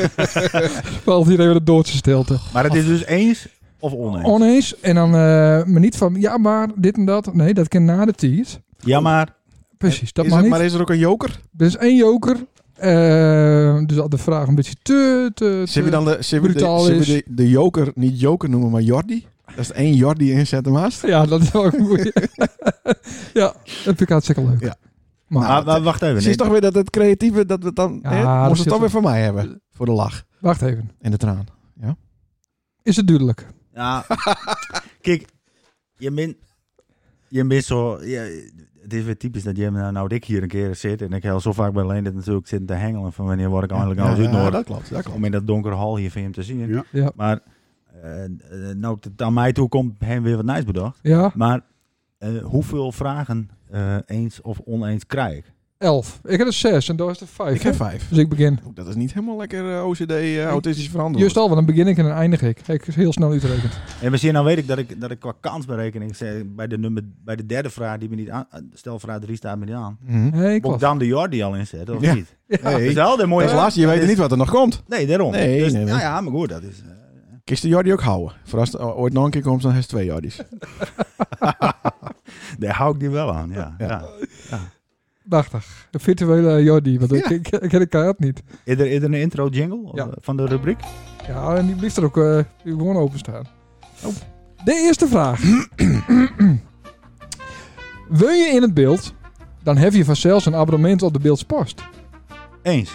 B: Valt hier even de doodse
A: Oh,
B: stilte.
C: Maar het is dus eens of oneens.
B: Oneens. En dan eh, maar niet van, ja maar, dit en dat. Nee, dat kan na de tijd.
C: Ja, maar
B: Precies, dat
A: is
B: mag
A: er-
B: niet.
A: Maar is er ook een joker?
B: Er is één joker. eh, dus altijd de vraag een beetje te... te, te-
A: Zullen we dan de, zullen we de,
B: eh, brutaal
A: zullen we
B: is.
A: de, de joker niet joker noemen, maar Jordi? Dat is één Jordi inzetten maast.
B: Ja, dat is wel een
A: <laughs>
B: goeie. ja, dat vind ik hartstikke leuk.
A: Ja. Nou,
B: Maar
C: maar- maar Ah, wacht even.
A: Zie je Dus toch weer dat het creatieve, dat we het dan...
B: Ja,
A: hè,
B: dat
A: moest
B: zit
A: het toch
B: er.
A: weer van mij hebben. Voor de lach
B: wacht even.
A: en de traan.
B: Is het duidelijk?
C: Ja, <laughs> kijk, je bent, je bent zo... je- het is weer typisch dat je nou, nou ik hier een keer zit. En ik heel zo vaak bij Leendert natuurlijk zitten te hengelen van wanneer word ik eindelijk aan het
A: ja,
C: uitnodigen.
A: dat klopt, dat klopt.
C: om in dat donkere hal hier van hem te zien.
E: Ja.
B: Ja.
C: Maar eh, eh, nou, tot aan mij toe komt hem weer wat nice bedacht.
B: Ja,
C: Maar eh, hoeveel vragen eh, eens of oneens krijg ik?
B: elf. Ik heb er zes en daar is er vijf.
A: Ik heb
B: hè?
A: vijf.
B: Dus ik begin.
A: Oeh, dat is niet helemaal lekker eh, OCD, eh, autistisch verantwoord.
B: Juist al, want dan begin ik en dan eindig ik. Kijk, is heel snel uitrekend.
C: En misschien nou weet ik dat ik, dat ik qua kansberekening zeg, bij de, nummer, bij de derde vraag die me niet aan... Stel vraag 3 staat me niet aan.
A: Mhm.
B: Nee, ik
C: Moet ik
B: was.
C: dan de Jordi al inzetten of
A: Ja.
C: niet?
A: Nee,
C: Dat is
A: dat
C: wel de mooie
A: is laatste. Je weet
C: is-
A: niet wat er nog komt.
C: Nee, daarom.
A: Nee,
C: Dus,
A: nee, nee.
C: Nou ja, maar goed, dat is... eh,
A: Kist de Jordi ook houden. Voor als het o- ooit nog een keer komt, dan heeft ze twee Jordis.
C: daar hou ik die wel aan, ja.
A: Ja.
C: ja.
B: Prachtig. Een virtuele Jordi, want ik, ik, ik heb de kaart niet.
C: Is, er, is er een intro jingle of,
B: Ja.
C: eh, van de rubriek?
B: Ja, en die blijft er ook eh, gewoon openstaan.
A: Oh.
B: De eerste vraag. <clears throat> Wil je in het beeld, dan heb je vanzelfs een abonnement op de beeldspost.
C: Eens.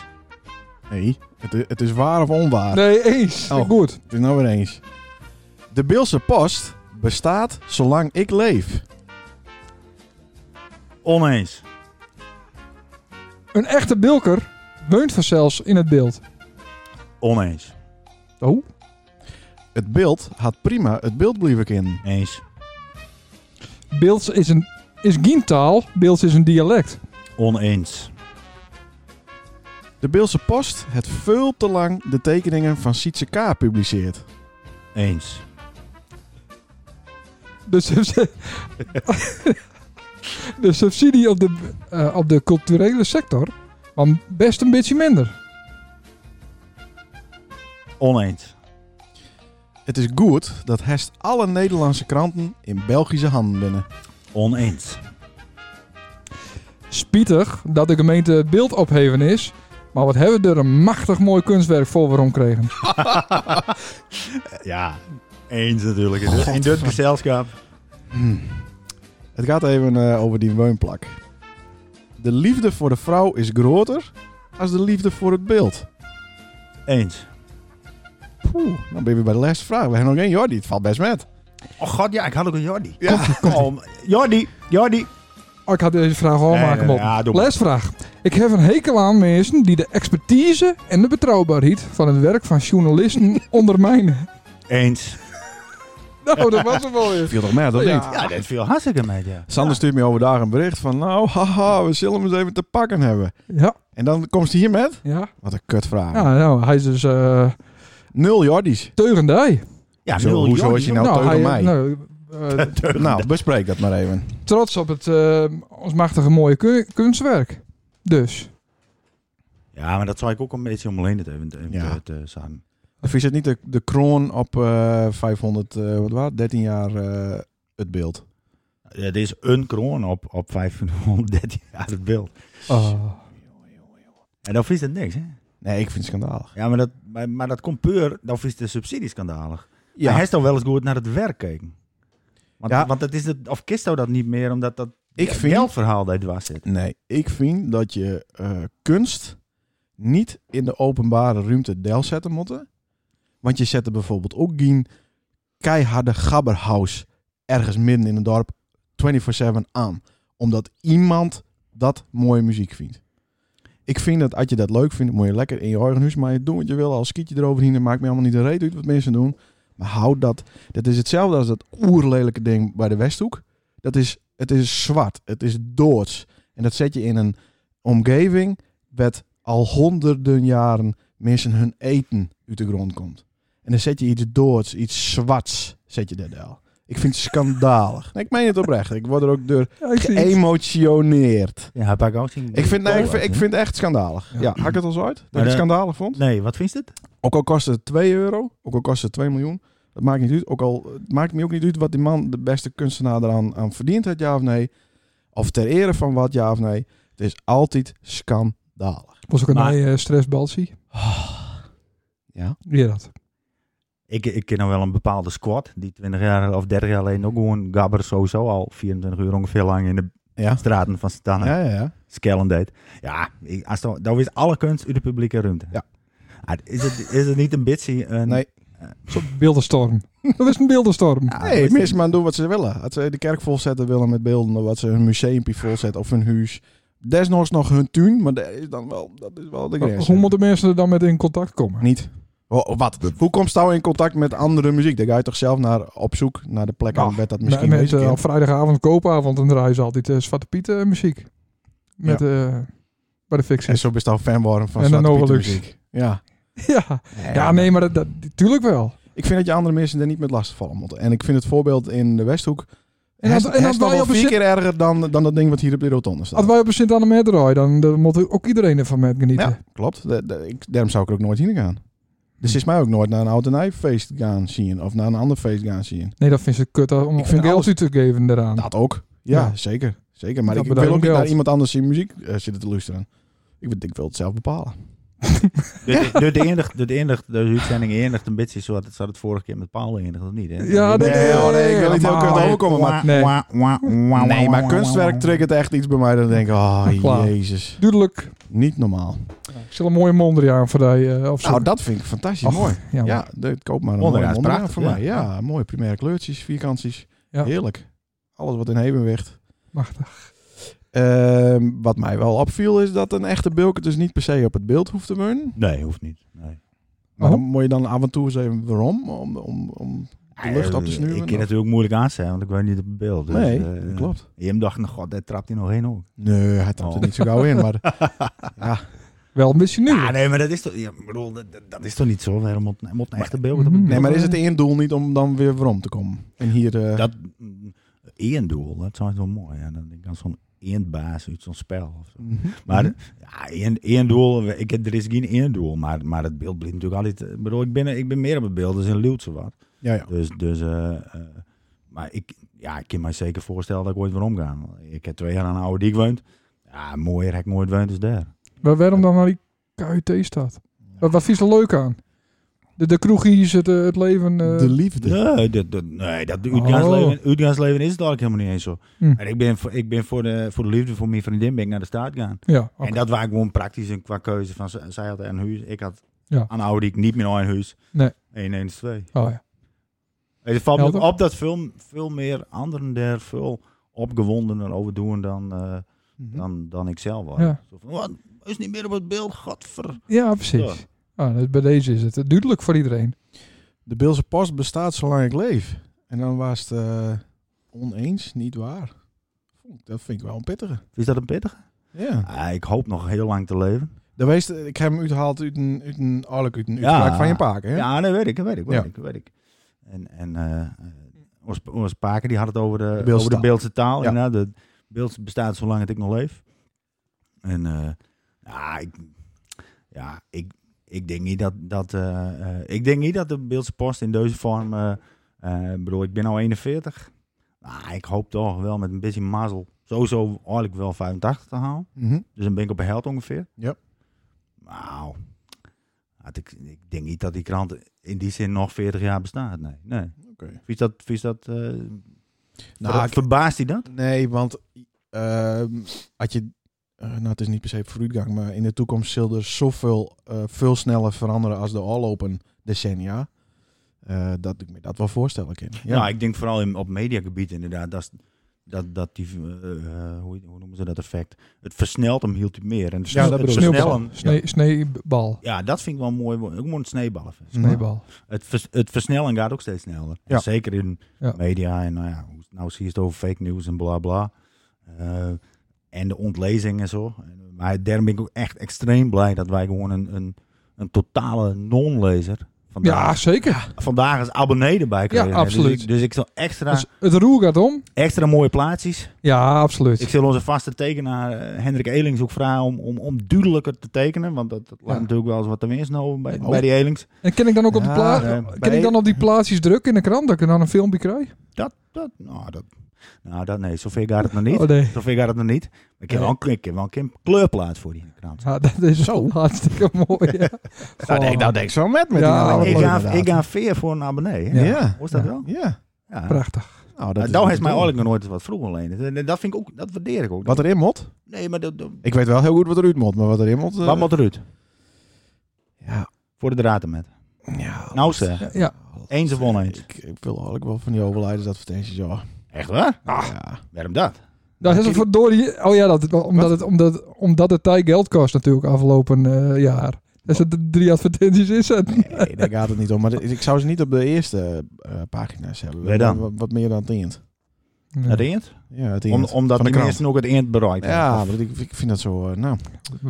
A: Nee, het, i- het is waar of onwaar.
B: Nee, eens.
A: Oh.
B: Goed.
A: Het is nou weer eens. De Beelse Post bestaat zolang ik leef.
C: Oneens.
B: Een echte bilker woont vanzelfs in het beeld.
C: Oneens.
B: Oh,
A: Het beeld had prima het beeld blijven kennen.
C: Eens.
B: beeld is, een, is geen taal, beeld is een dialect.
C: Oneens.
A: De Beelse Post het veel te lang de tekeningen van Sietse K. publiceert.
C: Eens.
B: De, subs- <laughs> de subsidie op de, eh, op de culturele sector kwam best een beetje minder.
C: Oneens.
A: Het is goed dat hest alle Nederlandse kranten in Belgische handen binnen.
C: Oneens.
B: Spietig dat de gemeente het beeld opheven is, maar wat hebben we er een machtig mooi kunstwerk voor waarom kregen.
C: Ja, eens natuurlijk. In dit- In dit gezelschap.
A: Het gaat even eh, over die woonplak. De liefde voor de vrouw is groter als de liefde voor het beeld.
C: Eens.
A: Poeh, dan ben je weer bij de laatste vraag. We hebben nog één Jordi. Het valt best met.
C: Oh god, ja, ik had ook een Jordi.
A: Ja.
C: Oh, Jordi, Jordi.
B: Oh, ik had deze vraag al
C: Nee,
B: maken,
C: nee,
B: Bob.
C: ja, doe maar.
B: Lesvraag. Ik heb een hekel aan mensen die de expertise en de betrouwbaarheid van het werk van journalisten <laughs> ondermijnen.
C: Eens.
B: Nou, dat was hem wel weer.
A: Viel toch met, of
B: Ja.
A: niet?
C: Ja, dat viel hartstikke mee, ja.
A: Sander stuurt me overdag een bericht van... Nou, haha, we zullen hem eens even te pakken hebben.
B: Ja,
A: En dan komt hij hier met...
B: ja.
A: Wat een kutvraag.
B: ja nou, hij is dus eh
A: Nul <laughs> Jordis.
B: teugendij.
C: Ja,
A: Zo,
C: nul
A: hoezo
C: Jordi,
A: is je
C: jongen.
A: Nou,
B: hij,
A: teugen mij.
B: nou, eh,
A: Nou, bespreek dat maar even.
B: trots op het eh, ons machtige mooie kun- kunstwerk. Dus.
C: Ja, maar dat zou ik ook een beetje om Leendert even, even
A: Ja.
C: te, te zeggen.
A: Of is het niet de, de kroon op eh 500, eh, wat was het? 13 jaar eh, het beeld?
C: Het is een kroon op, op 513 <laughs> jaar het beeld.
B: Oh.
C: En dan vies het niks, hè?
A: Nee, ik vind het schandalig.
C: Ja, maar dat, maar, maar dat komt puur, dan vies de subsidie schandalig. Ja.
A: Ja,
C: Hij is toch wel eens goed naar het werk kijken. Want,
A: Ja.
C: want dat is het, of Kisto dat niet meer, omdat dat
A: ik
C: Ja,
A: vind...
C: geldverhaal dat was het.
A: Nee, ik vind dat je eh, kunst niet in de openbare ruimte del zetten moeten. Want je zet er bijvoorbeeld ook geen keiharde gabberhaus ergens midden in een dorp 24-7 aan. Omdat iemand dat mooie muziek vindt. Ik vind dat als je dat leuk vindt, moet je lekker in je eigen huis maar je doen wat je wil. Al skiet je eroverheen, dat maakt me allemaal niet een reet uit wat mensen doen. Maar houd dat. Dat is hetzelfde als dat oerlelijke ding bij de Westhoek. Dat is, het is zwart, het is doods. En dat zet je in een omgeving met al honderden jaren mensen hun eten uit de grond komt. En dan zet je iets doods, iets zwarts, zet je dat al. Ik vind het schandalig. Nee, <laughs> ik meen het oprecht. Ik word er ook <laughs> door
B: Ja, ik zie het.
A: geëmotioneerd.
C: Ja, heb ik ook zien.
A: Ik vind, nee, ik, vind, ik vind het echt schandalig. Ja, had ik het al zo uit? Dat ik
C: Maar,
A: het
C: eh,
A: schandalig vond?
C: Nee, wat vindt het?
A: Ook al kost het 2 euro, ook al kost het 2 miljoen. Dat maakt niet uit. Ook al eh, het maakt me ook niet uit wat die man, de beste kunstenaar, eraan aan verdiend had, ja of nee. Of ter ere van wat, ja of nee. Het is altijd schandalig.
B: was ook een
C: Maar-
B: mij stressbalsie.
A: Ah. Ja.
B: Ja, dat.
C: Ik, ik ken nou wel een bepaalde squad die 20 jaar of 30 jaar alleen ook gewoon gabber sowieso al 24 uur ongeveer lang in de
A: Ja.
C: straten van Santana
A: Ja, ja, ja.
C: skellen deed. Ja, ik, als dat, dat is alle kunst uit de publieke ruimte.
A: Ja.
C: Ah, is, het, is het niet een bitsie? eh, Een,
A: Nee.
B: Zo'n beeldenstorm. dat is een
A: <laughs>
B: beeldenstorm.
C: Ah,
A: Nee,
C: wat is
A: mensen
C: dit?
A: maar doen wat ze willen. Als ze de kerk volzetten willen met beelden, of wat ze hun museumpje volzetten of hun huis. Desnoods nog hun tuin, maar dat is dan wel, dat is wel de grens.
B: Hoe moeten mensen er dan met in contact komen?
A: Niet. Oh, wat? Hoe komt jou in contact met andere muziek? Dan ga je toch zelf naar, op zoek naar de plek
B: Nou,
A: aan bed dat misschien
B: met,
A: bezig
B: eh, op
A: is.
B: vrijdagavond koopavond en draaien ze altijd eh, Zwarte Piet eh, muziek. Met, eh, bij de
A: En
B: fictie.
A: zo best al fan worden van
B: En dan
A: Zwarte Piet
B: Novelux.
A: muziek. Ja.
B: <laughs> Ja. ja, nee, maar dat, dat, tuurlijk wel.
A: Ik vind dat je andere mensen er niet met last vallen moeten. En ik vind het voorbeeld in de Westhoek...
B: En
A: En
B: als- en als
A: dat
B: wij
A: wel
B: op een
A: vier
B: zit-
A: keer erger dan, dan dat ding wat hier op de rotonde staat.
B: Als wij op een sint anne met draaien, dan, dan moet ook iedereen ervan met genieten.
A: Ja, klopt. De- de- ik, daarom zou ik er ook nooit heen gaan. Dus is mij ook nooit naar een oud en Nieuw feest gaan zien. Of naar een ander feest gaan zien.
B: Nee, dat vind ze kut om, om
A: Ik vind
B: geld
A: alles-
B: uit te geven daaraan.
A: Dat ook. Ja,
B: Ja.
A: zeker. Zeker. Maar
B: Dat
A: ik
B: bedoel
A: wil ook
B: ik
A: niet
B: wel.
A: naar iemand anders zien muziek eh, zitten te luisteren. Ik, wil- ik wil het zelf bepalen.
C: Dit dit eindigt, dit eindigt, de uitzending eindigt een beetje zoals het, zoals het vorige keer met Paul eindigde, of niet? Hè?
B: Ja, dat-
A: Nee, hoor, nee, ik wil niet heel
B: maar-
A: kut overkomen. Maar,
B: Nee.
A: nee, maar kunstwerk triggert echt iets bij mij. Dan denk ik, <laughs> oh
B: Klaar.
A: jezus.
B: Duidelijk.
A: Niet normaal.
B: Ik zal een mooie mondriaan voor die, eh, of zo.
A: Nou, dat vind ik fantastisch
B: Och,
A: mooi.
B: Ja,
A: Ja, de, koop maar een
C: Onderaan
A: mooie
C: is
A: onderaan voor
C: prachtig, ja.
A: mij. Ja, mooie primaire kleurtjes, vierkantjes.
B: Ja.
A: Heerlijk. Alles wat in evenwicht.
B: machtig.
A: Ehm, wat mij wel opviel is dat een echte bulker dus niet per se op het beeld hoeft te munnen.
C: Nee, hoeft niet. Nee.
A: Maar
B: Oh.
A: dan moet je dan af en toe eens even waarom? Om, om, om... De lucht op te snuiven,
C: Eh, Ik
A: of?
C: kan natuurlijk moeilijk aanstaan, want ik weet niet op het beeld. Dus,
A: nee,
C: eh,
A: dat klopt.
C: Je hem dacht, nou god, daar trapt hij nog heen ook.
A: Nee, hij trapt er
C: Oh.
A: niet zo gauw in. Maar
B: Wel een beetje nu.
C: Ja, nee, maar dat is toch, ja, ik bedoel, dat, dat- dat is toch niet zo? Waarom op, op een echte beeld?
A: <laughs>
B: Mhm.
A: Mm-hmm. nee, maar is het einddoel niet om dan weer waarom te komen? En hier... eh,
C: Dat mm, eendoel, dat zou wel mooi. Ja. Dan denk ik aan zo'n eendbaas uit zo'n spel. Of zo.
A: Mhm.
C: Maar ja, één, één doel, ik, heb- er is geen één doel, maar, maar het beeld blijft natuurlijk altijd... eh, Ik bedoel, ik ben, ik ben meer op het beeld, dus in Leeuwt zo wat.
A: Ja, ja.
C: Dus, dus eh, eh, maar ik, ja, ik kan me zeker voorstellen dat ik ooit weer omgaan. Ik heb twee jaar aan een oude diek gewoond. Ja, mooier heb ik nooit gewoond dus daar.
B: Maar waarom dan naar die KUT staat? Wat, wat vies er leuk aan? De, de kroegies, het, eh, het leven. eh,
A: de liefde.
C: Nee, Dus dat, dat, nee, dat
B: Oh.
C: uitgaansleven, uitgaansleven is het eigenlijk helemaal niet eens zo.
B: Hm.
C: En ik ben, voor, ik ben voor, de, voor de liefde voor mijn vriendin ben ik naar de staat gaan.
B: Ja, oké.
C: En dat waar ik gewoon praktisch en qua keuze van. z- Zij had een huis, ik had
B: Ja.
C: aan oude ik niet meer een huis.
B: Nee.
C: 1, 1 2.
B: Oh, ja.
C: Het valt me
B: Helder.
C: op dat veel, veel meer anderen daar veel opgewondener over doen dan, eh,
A: Mhm.
C: dan, dan ik zelf was.
B: Ja.
C: Zo van, wat? Is niet meer op het beeld, godver.
B: ja, precies.
C: Ja.
B: Ah, dus bij deze is het eh, duidelijk voor iedereen.
A: De Beelse post bestaat zolang ik leef. En dan was het eh, oneens, niet waar. Dat vind ik wel een pittige.
C: Is dat een pittige?
A: Ja.
C: Ah, ik hoop nog heel lang te leven.
A: De weest, ik heb hem uitgehaald uit een, uit een, eigenlijk uit een
C: Ja.
A: uitspraak van je paak. Hè?
C: Ja, dat weet ik, dat weet ik, weet
A: Ja.
C: ik, weet ik. En, en eh, eh, ons, ons Paken die had het over de,
A: Beeldse
C: over de
A: taal.
C: Beeldse taal.
A: Ja.
C: Ja. De Beeld bestaat zolang het ik nog leef. En eh, ja, ik, ja ik, ik denk niet dat, dat eh, eh, ik denk niet dat de Beeldse Post in deze vorm, eh eh, ik bedoel, ik ben al 41. Nou, ik hoop toch wel met een beetje mazzel sowieso eigenlijk wel 85 te halen.
A: Mhm.
C: Dus dan ben ik op de helft ongeveer.
A: Ja.
C: Nou, had ik, ik denk niet dat die krant in die zin nog 40 jaar bestaat. Nee, nee.
A: Oké.
C: Vies dat, vies dat, eh, ver-
A: Nou, ik-
C: verbaast hij dat?
A: Nee, want ehm, had je. eh, nou, het is niet per se vooruitgang, maar in de toekomst zal er zoveel eh, veel sneller veranderen als de afgelopen decennia. eh, dat ik me dat wel voorstellen kan.
C: Ja. Nou, ik denk vooral in, op mediagebied inderdaad. Dat, is- dat, dat die, eh, eh, hoe, hoe noemen ze dat effect? Het versnelt hem hield hij meer. En het
A: Ja, dat
C: het
A: bedoel ik.
C: versnellen,
B: Snee, Sneeuwbal.
C: ja, dat vind ik wel een mooi. woord. Ik moet het sneeballen. vinden.
A: Mhm.
B: Sneeuwbal.
C: Het, vers, het versnellen gaat ook steeds sneller.
A: Ja.
C: Zeker in
B: Ja.
C: media. En nou ja, hoe- nou zie je het over fake news en bla bla. Eh, en de ontlezing en zo. En- Maar daarom ben ik ook echt extreem blij dat wij gewoon een, een, een totale non-lezer Vandaag,
B: Ja, zeker.
C: vandaag is abonnee erbij kregen.
B: Ja, absoluut.
C: Dus ik, dus ik zal extra,
B: Dus het roer gaat om.
C: extra mooie plaatsjes.
B: Ja, absoluut.
C: Ik zal onze vaste tekenaar eh, Hendrik Elings ook vragen om, om, om duidelijker te tekenen. Want dat, dat laat
B: Ja.
C: natuurlijk wel eens wat te winsten over bij,
A: Oh.
C: bij die Elings.
B: En kan ik dan ook op de
A: Ja,
B: pla-
C: eh,
B: Ah, kan
A: bij-
B: ik dan op die plaatsjes drukken in de krant dat ik er dan een filmpje krijg?
C: Dat, dat, nou, dat, nou, dat nee. Zover gaat het nog niet.
B: Oh nee.
C: Zover gaat het nog niet. Ik heb wel een, ik heb wel een keer een kleurplaat voor die krant.
B: Ja, dat is
A: Zo.
B: <laughs> hartstikke mooi. Ja.
A: Dat denk, dat denk ik zo met. met
B: Ja,
A: die
B: wat
A: alleen
C: ik,
B: leuk,
C: ga,
A: inderdaad.
C: ik ga veer voor een abonnee. Hè?
A: Ja.
C: Hoe
A: Ja.
C: is dat
B: Ja.
C: wel? Ja.
B: Prachtig.
A: Nou,
C: Dat,
A: is
C: dat
A: wat
C: heeft
A: ik
C: mij
A: bedoel.
C: eigenlijk nog nooit wat vroeger alleen. Dat, dat, vind ik ook, dat waardeer ik ook.
A: Wat erin moet?
C: nee, maar dat, dat,
A: Ik weet wel heel goed wat eruit moet, maar wat erin moet... eh,
C: wat moet eruit?
A: Ja,
C: Voor de draad met.
A: Oh, ja.
C: Nou zeg,
B: Ja,
C: eens of oneens.
A: Ik, ik wil eigenlijk wel van die overlijdensadvertenties, ja.
C: Echt waar?
A: ja.
C: Waarom dat?
B: dat is een verdorie. Oh ja, dat, omdat, het, omdat, omdat het tijd geld kost natuurlijk afgelopen eh, jaar. Dus het drie advertenties inzetten.
A: Nee, daar gaat het niet om. Maar dit- ik zou ze niet op de eerste eh, pagina's hebben.
C: Waar dan?
A: Wat, wat meer dan het eind.
C: Naar de eend?
A: Ja, het
C: Om,
A: eind.
C: omdat
A: Van de
C: de
A: krant.
C: eerste ook het eind bereikt hebben.
A: Ja, maar ik, ik vind dat zo... eh, nou,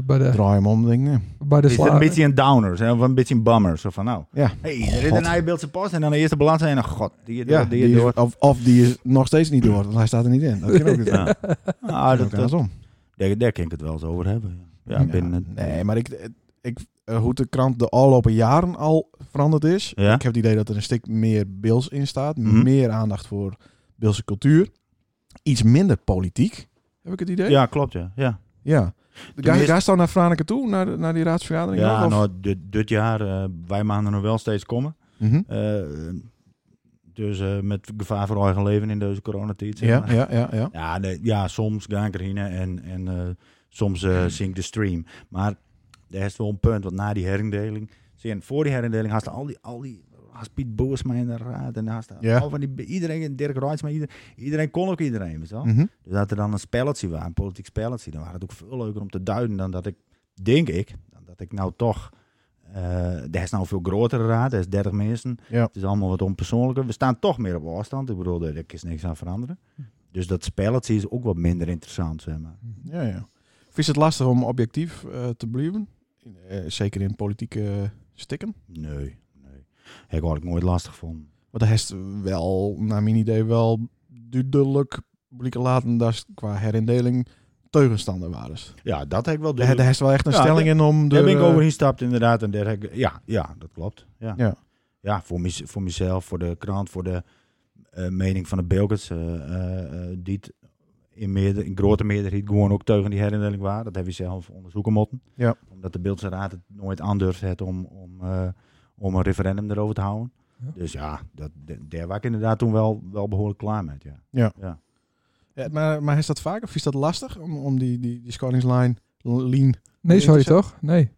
B: Bij de,
A: draai hem om, denk ik. nou. nee.
B: bij de
C: Is het een
B: sla.
C: beetje een downer, hè, of een beetje een bummer. Zo van nou,
A: Ja.
C: hey, er is
A: God.
C: een eindbeeldse post en dan de eerste balans en dan god, die,
A: Ja,
C: die, die
A: die is- <laughs>
C: door.
A: of, of die is nog steeds niet door, want hij staat er niet in. Dat kan ook niet.
C: Ja. Ah, dat, dat,
A: om.
C: daar, daar kan ik het wel eens over hebben. Ja, ja, binnen.
A: nee, maar ik, ik, eh, hoe de krant de afgelopen jaren al veranderd is.
C: Ja?
A: Ik heb het idee dat er een stuk meer Beels in staat.
C: Mhm.
A: Meer aandacht voor Beelse cultuur. Iets minder politiek, heb ik het idee.
C: ja, klopt ja. Ja,
A: Ja. Ga,
C: Tenminste-
A: ga je dan naar Franeker toe, naar, de- naar die raadsvergadering? nog,
C: ja
A: of-
C: nou, dit, dit jaar, eh, wij maanden nog wel steeds komen.
A: Mhm.
C: Eh, dus eh, met gevaar voor eigen leven in deze coronatijd. zeg maar.
A: ja, ja, ja, ja.
C: Ja, nee, ja, soms ga ik erheen en, en eh, soms eh zie ik de stream. Maar er is wel een punt, want na die herindeling... Zie je, voor die herindeling had je al die... Al die had Piet Boersma in de raad en had je
A: Ja.
C: al van die, iedereen, Dirk Reitsma, iedereen, iedereen kon ook iedereen. Weet je wel?
A: Mhm.
C: Dus dat er dan een spelletje was, een politiek spelletje, dan was het ook veel leuker om te duiden dan dat ik, denk ik, dan dat ik nou toch... eh er is nou een veel grotere raad, er is 30 mensen.
A: Ja.
C: Het is allemaal wat onpersoonlijker. We staan toch meer op afstand. Ik bedoel, daar is niks aan veranderen. Dus dat spelletje is ook wat minder interessant, zeg maar.
A: ja, ja. Vind je het lastig om objectief eh, te blijven? Eh, zeker in politieke eh, stikken?
C: Nee, nee. Ik had ik nooit lastig vond.
A: Want hij heeft wel, naar mijn idee, wel duidelijk publiek laten dat is qua herindeling tegenstander waren. Dus
C: Ja, dat heb ik wel.
A: Daar daar heeft wel echt een
C: Ja,
A: stelling in om de...
C: Daar ben ik overheen gestapt inderdaad. En daar heb ik, ja, ja, dat klopt. Ja,
A: Ja.
C: Ja, voor, mis, voor mezelf, voor de krant, voor de eh, mening van de Bilkers. eh, eh, eh, die het in, meerder, in grote meerderheid gewoon ook teugen die herindeling waren. Dat heb je zelf onderzoeken moeten.
A: Ja.
C: Omdat de Beeldse Raad het nooit aandurft het om, om, eh, om een referendum erover te houden.
B: Ja.
C: Dus ja, dat, d- daar was ik inderdaad toen wel, wel behoorlijk klaar met. Ja.
A: Ja, maar, maar is dat vaak of is dat lastig om, om die, die, die scoringslijn lean...
B: Nee, sorry toch? Nee.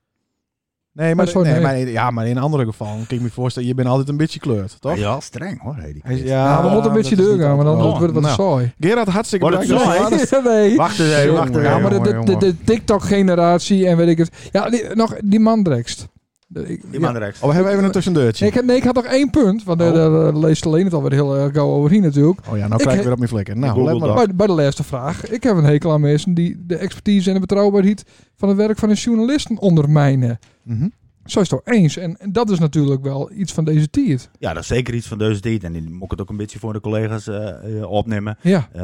A: Nee, maar,
B: Oh, zo,
A: nee,
B: nee.
A: maar, in- ja, maar in andere gevallen kan ik me voorstellen, je bent altijd een beetje kleurd, toch?
C: Hij is wel streng hoor. Hey, die
A: Hij Ah, is-
C: Christ.
B: Ja, we moeten een beetje deur gaan, maar dan
C: Oh,
B: wordt het wat
A: nou.
B: saai.
A: Gerard, hartstikke
C: Wordt het
A: bedankt.
C: zo, hè?
B: <laughs> Nee.
C: Wacht eens even, wacht eens
A: Jongen,
B: Ja,
C: even.
B: maar de, de, de, de TikTok-generatie en weet ik het. Ja, die, nog die mandrekst. Ik,
C: Die
B: ja.
C: man rechts.
A: Oh, we hebben even een tussendeurtje.
B: Nee, ik, heb- nee, ik had nog één punt, want daar
A: Oh.
B: daar eh, leest alleen het alweer heel erg gauw overheen natuurlijk.
A: Oh ja, nou
B: Ik
A: krijg ik
B: he-
A: weer op mijn flikken. Nou,
C: Google
A: let maar
C: Doc.
A: op.
B: Bij, bij de laatste vraag. Ik heb een hekel aan mensen die de expertise en de betrouwbaarheid van het werk van een journalisten ondermijnen.
A: Mhm.
B: Zo is het toch eens. En, en dat is natuurlijk wel iets van deze tiert.
C: Ja, dat is zeker iets van deze tijd. En die moet ik het ook een beetje voor de collega's eh, eh, opnemen.
B: Ja.
C: Eh,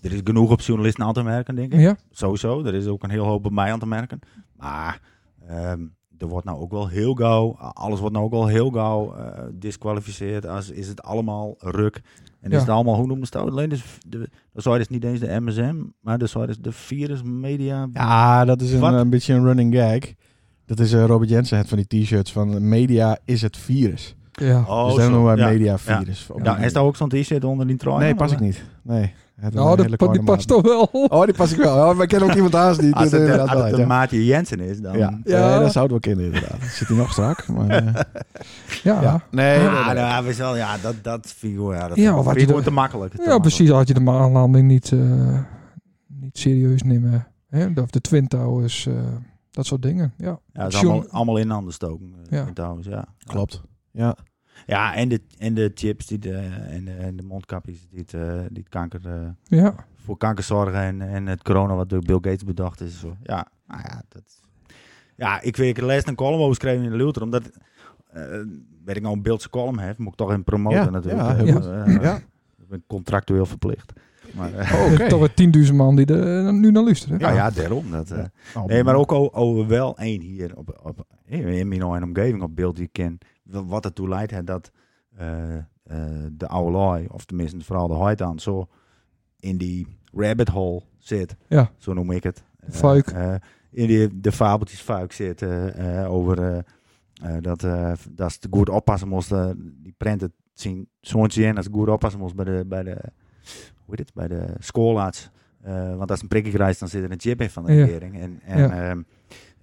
C: er is genoeg op journalisten aan te merken, denk ik.
B: Ja.
C: Sowieso. Er is ook een heel hoop bij mij aan te merken. Maar ehm, er wordt nou ook wel heel gauw, alles wordt nou ook wel heel gauw eh disqualificeerd. Als is het allemaal ruk. En
B: Ja.
C: is het allemaal, hoe noemen ze het? Alleen dus de, de site is niet eens de MSM, maar de site is de Virus Media.
A: Ja, dat is een, eh,
C: Wat?
A: een beetje een running gag. Dat is eh, Robert Jensen, het van die t-shirts van eh, media is het virus.
B: Ja.
C: Oh,
A: dus dan
C: zo.
A: noemen wij
C: Ja.
A: media virus. Op die
C: Ja,
A: manier.
C: is daar ook zo'n t-shirt onder die trui?
A: nee, pas ik niet. Nee. Het is een
B: nou,
A: hele
B: dat, pa-
A: kleine
B: die past
A: maat.
B: toch wel.
A: Oh, die pas ik wel. Oh, maar ik ken ook iemand haast die.
C: Als
A: dit <laughs>
C: het, eh,
A: inderdaad
C: als het
A: wel
C: de
A: heeft,
C: maatje Jensen is, dan...
A: ja. Ja,
B: Ja.
A: Nee, dat zou het wel kennen inderdaad. Zit hij nog strak? Maar, eh,
B: Ja,
A: ja.
B: ja.
A: Nee, nee,
C: Ah, nou, Ja,
A: nee.
C: dat is wel, ja, dat, dat vind ik, wel- ja, dat
B: Ja,
C: vind ik
B: wat
C: vind
B: je
C: ik gewoon
B: doet.
C: te makkelijk. te
B: precies. Had je de maanlanding niet, eh, niet serieus nemen. Hè? Of de Twin Towers. eh, dat soort dingen. Ja.
C: Ja, het is
B: Tjoen-
C: allemaal, allemaal in handen stoken. eh,
B: Ja.
C: Trouwens, ja.
A: Klopt. Ja.
C: Ja, en de, en de chips die de, en, de, en de mondkapjes die, het, eh, die het kanker, eh,
B: Ja.
C: voor kanker zorgen. En, en het corona wat door Bill Gates bedacht is. en Zo. Ja, nou ja, dat, ja, ik weet, ik les een column over geschreven in de Luther. Omdat eh, weet ik nou een beeldse column heb, moet ik toch in promoten
A: Ja,
C: natuurlijk.
A: ja, heel
C: Eh,
A: goed.
C: eh,
A: Ja.
C: Ik ben contractueel verplicht. Maar, eh,
A: Oh,
B: Er
A: Oké.
B: zijn <laughs> Toch weer 10.000 man die er eh, nu naar luisteren.
C: <laughs> nou ja, daarom. Dat, eh,
A: Ja.
B: Oh,
A: Nou,
C: Nee, maar ook al- al wel één hier op, op, eh, in Mino en omgeving op beeld die ik ken. wa- Wat ertoe leidt hè, dat eh, eh, de oude lui, of tenminste vooral de Hoitaan, zo in die rabbit hole zit.
B: Ja.
C: Zo noem ik het. Eh,
B: Fuik.
C: eh, in die, de fabeltjes fuik zit eh, eh, over eh, eh, dat, eh, dat ze goed oppassen moesten. die prenten zien zo'n zien dat ze goed oppassen moesten bij de, bij de, hoe heet het, bij de schoolarts. Eh, want als een prikje krijgt, dan zit er een chip in van de
B: Ja.
C: regering. En, en,
B: Ja.
C: ehm,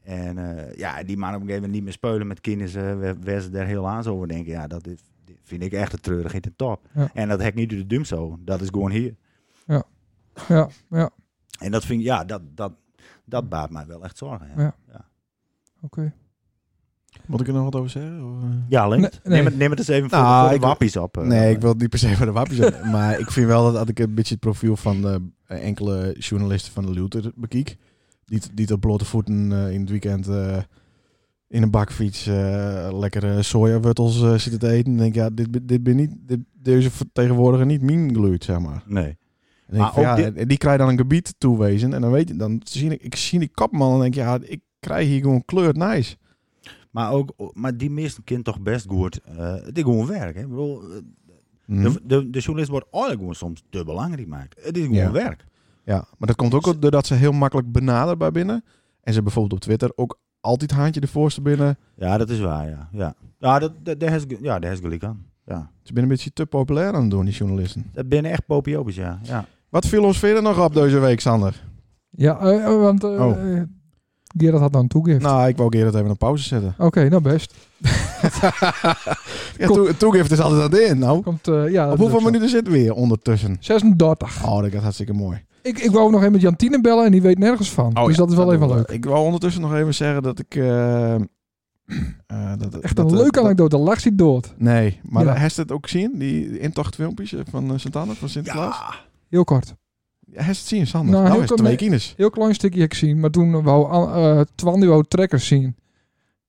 C: en eh, ja, die mannen op een gegeven moment niet meer speulen met kinderen. eh, waar- Waar ze daar heel aan zo over denken. Ja, dat is, dit vind ik echt een treurigheid in top.
B: Ja.
C: En dat hek niet door de dum zo. Dat is gewoon hier.
B: Ja, ja.
C: En dat vind ik, ja, dat, dat, dat baat mij wel echt zorgen. Ja,
B: Ja.
C: ja.
A: Moet ik er nog wat over zeggen? Of, eh?
B: Nee,
C: Lint,
B: nee.
C: Neem, het, neem het eens even voor,
A: Nou,
C: voor de
A: ik-
C: wappies op. eh.
A: Nee, ik wil het niet per se voor de wapjes hebben. <laughs> maar ik vind wel dat als ik een beetje het profiel van de, eh, enkele journalisten van de Luther bekiek. Die, t- die op blote voeten eh, in het weekend eh, in een bakfiets eh, lekkere sojawurtels eh, zitten te eten. Dan denk ik, ja, dit, be- dit ben niet, dit, deze vertegenwoordiger niet min gluurt, zeg maar.
C: Nee.
A: En denk ik
C: Maar
A: van,
C: ook
A: ja,
C: dit-
A: en die krijg dan een gebied toewezen. En dan weet je, dan zie ik, ik zie die kapman en denk ik, ja, ik krijg hier gewoon kleurt nice.
C: Maar, ook, maar die meeste kind toch best goed. eh het is gewoon werk. Hè? Ik bedoel, eh,
A: Mhm.
C: de, de, de journalist wordt eigenlijk gewoon soms te belangrijk gemaakt. Het is gewoon
A: Ja.
C: werk.
A: Ja, maar dat komt ook doordat ze heel makkelijk benaderbaar binnen. En ze bijvoorbeeld op Twitter ook altijd haantje de voorste binnen.
C: Ja, dat is waar, ja. Ja, ja dat, dat, daar is, ge- ja, daar is gelijk aan. Ja.
A: Ze zijn een beetje te populair aan het doen, die journalisten.
C: Dat binnen echt popiopisch, ja. ja.
A: Wat viel ons verder nog op deze week, Sander?
B: Ja, eh, eh, want eh
A: Oh.
B: eh, Gerard had dan toegift.
A: Nou, ik wou Gerard even een pauze zetten.
B: Oké, nou best.
A: Ja, toe- toegift is altijd aan de in, nou.
B: Komt, eh, ja,
A: Op
B: dat
A: hoeveel
B: is ook zo.
A: minuten zitten we hier ondertussen?
B: 36.
A: Oh, dat gaat hartstikke mooi.
B: Ik, ik wou ook nog even met Jantine bellen en die weet nergens van.
A: Oh
B: dus dat is wel even leuk.
A: Ik wou ondertussen nog even zeggen dat ik... eh, eh, dat,
B: Echt
A: dat- eh,
B: een leuke
A: dat-
B: anekdote. Lacht ziet dood.
A: Nee, maar
B: Ja.
A: ja. heeft het ook zien? Die intochtfilmpjes eh, van eh, Sint-Anne, van Sinterklaas? Ja.
B: Heel kort.
A: Heeft het zien, Sander?
B: Nou,
A: Nou,
B: heel
A: is het
B: kort,
A: twee
B: nee.
A: kines.
B: Heel klein stukje heb ik zien. Maar toen wou An- eh Twan die wou trekkers zien.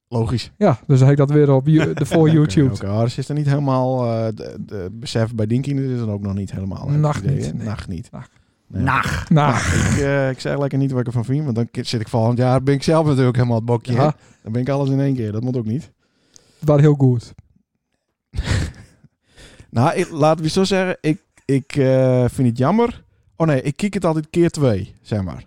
A: Logisch.
B: Ja, dus heb ik dat weer op
A: <laughs>
B: you- de voor YouTube.
A: Oké, oké. Oh, dus is er niet helemaal... eh, de, de besef bij Dinky is er ook nog niet helemaal. heb ik
B: Nacht
A: het idee,
B: niet,
A: hè?
B: nee.
A: Nacht niet.
B: Nacht.
A: Nee.
C: Nacht.
B: Nou,
A: Ik, eh, ik zeg lekker niet wat ik ervan vind, want dan k- zit ik volgend jaar ben ik zelf natuurlijk helemaal het bokje.
B: ja,
A: hè? Dan ben ik alles in één keer. Dat moet ook niet.
B: het was heel goed.
A: Nou, ik, laten we het zo zeggen. Ik, ik eh, vind het jammer. Oh nee, ik kijk het altijd keer twee, zeg maar.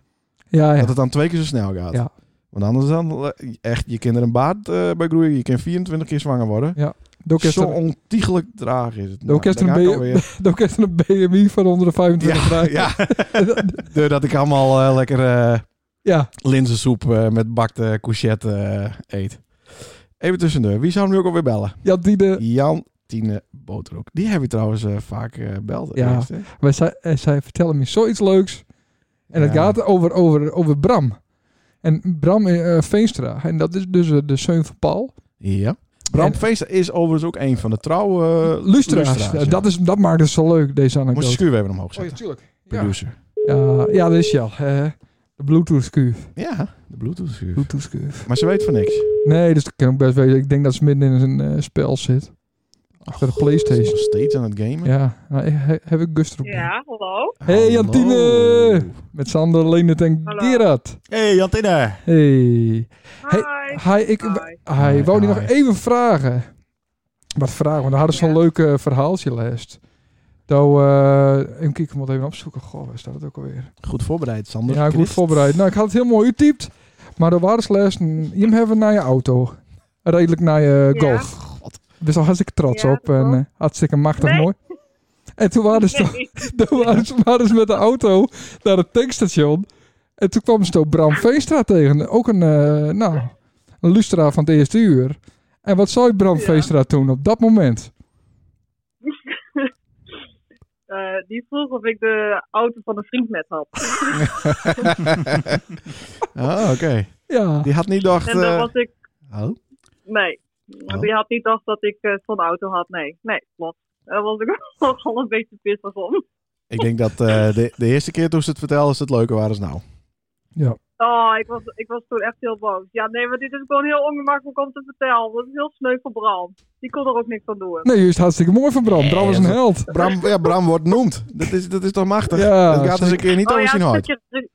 B: Ja, ja.
A: Dat het dan twee keer zo snel gaat.
B: Ja.
A: Want anders dan eh, echt, je kind er een baard eh, bij groeien. Je kan 24 keer zwanger worden.
B: Doe ik
A: Zo
B: gisteren-
A: ontiegelijk traag is het. Nou,
B: Ook eerst
A: daar
B: een
A: ga ik
B: be-
A: alweer.
B: <laughs>
A: eh,
B: doe ik gisteren een BMI van onder de 25
A: Ja,
B: graden.
A: ja. <laughs> Doordat ik allemaal eh, lekker eh,
B: ja.
A: linzensoep eh, met bakte courgette eh, eet. Even tussendoor. Wie zou hem nu ook alweer bellen?
B: Jantine,
A: Jan Tine Boterhoek. Die heb je trouwens eh, vaak eh beld.
B: Ja.
A: eerst, hè?
B: wij zei, eh, zij vertelde me zoiets leuks. En het
A: Ja.
B: gaat over, over, over Bram. En Bram eh, Veenstra. En dat is dus eh, de zoon van Paul.
A: Ja. Bram
B: En-
A: Feester is overigens ook een van de trouwe eh,
B: Lustra's.
A: luisteraars, ja.
B: dat, is, dat maakt het zo leuk, deze
A: Moet je
B: anekdote.
A: schuur even omhoog
B: Oh ja,
A: zetten.
B: tuurlijk. Ja,
A: Producer.
B: ja, ja, dat is je al. hè. de Bluetooth-curve.
A: Ja, de bluetooth schuur.
B: Bluetooth-curve.
A: Maar ze weet van niks.
B: Nee, dus dat kan ook best weten. Ik denk dat ze midden in een eh, spel zit. Achter de
A: Ze is
B: Playstation.
A: nog steeds aan het gamen.
B: Ja, nou, he- he- heb ik Guster op.
E: Ja, hallo.
A: Hallo.
B: Hey Jantine! Met Sander, Leendert en
E: Hallo.
B: Gerard.
C: hey, Jantine.
B: Hey.
E: Hi.
B: Hi, ik
E: Hi.
B: hi,
A: Hi,
B: wou die
A: hi.
B: nog even vragen. Wat vragen, want we hadden zo'n
E: Ja.
B: leuk eh, verhaaltje last. Nou, eh even kijken, ik moet even opzoeken. Goh, waar staat het ook alweer?
A: Goed voorbereid, Sander.
B: ja, goed
A: Christ.
B: voorbereid. Nou, ik had het heel mooi getypt. Maar de waardeslast,
E: <laughs>
B: je hebben naar je auto. Redelijk naar je
E: Ja.
B: golf. Dus
A: God.
B: Ik ben al hartstikke trots
E: Ja,
B: op.
E: dat
B: En
E: klopt.
B: eh, hartstikke machtig
E: Nee.
B: mooi. En toen
E: <laughs>
B: waren ze,
E: Nee.
B: <laughs> toen waren ze, waren ze met de auto naar het tankstation. En toen kwam ze toch Bram Veenstra tegen. Ook een, eh nou, een lustra van het eerste uur. En wat zou Bram
E: Ja.
B: Veenstra toen op dat moment?
E: Eh, die vroeg of ik de auto van een vriend met had.
A: Ah, oké.
B: Ja,
A: Die had niet dacht...
E: En dan
A: eh,
E: was ik.
A: oh,
E: Nee.
A: Oh.
E: Die had niet dacht dat ik eh, zo'n auto had. Nee, nee, klopt. Daar was ik <laughs> ook al een beetje pissig om.
A: ik denk dat eh, de, de eerste keer toen ze het vertelde, is het leuker waren ze nou.
B: ja.
E: Oh, ik was, ik was toen echt heel boos. Ja, nee, maar dit is gewoon heel ongemakkelijk om te vertellen. Dat is heel sneu voor Bram. Die kon er ook niks aan doen.
B: Nee, juist hartstikke mooi van Bram. Bram is een held.
A: Bram, ja, Bram wordt noemd. Dat is, dat is toch machtig?
B: Ja,
A: dat gaat eens een keer niet
E: oh
A: over
E: ja,
A: zien
E: een
A: hart.
E: stukje, re-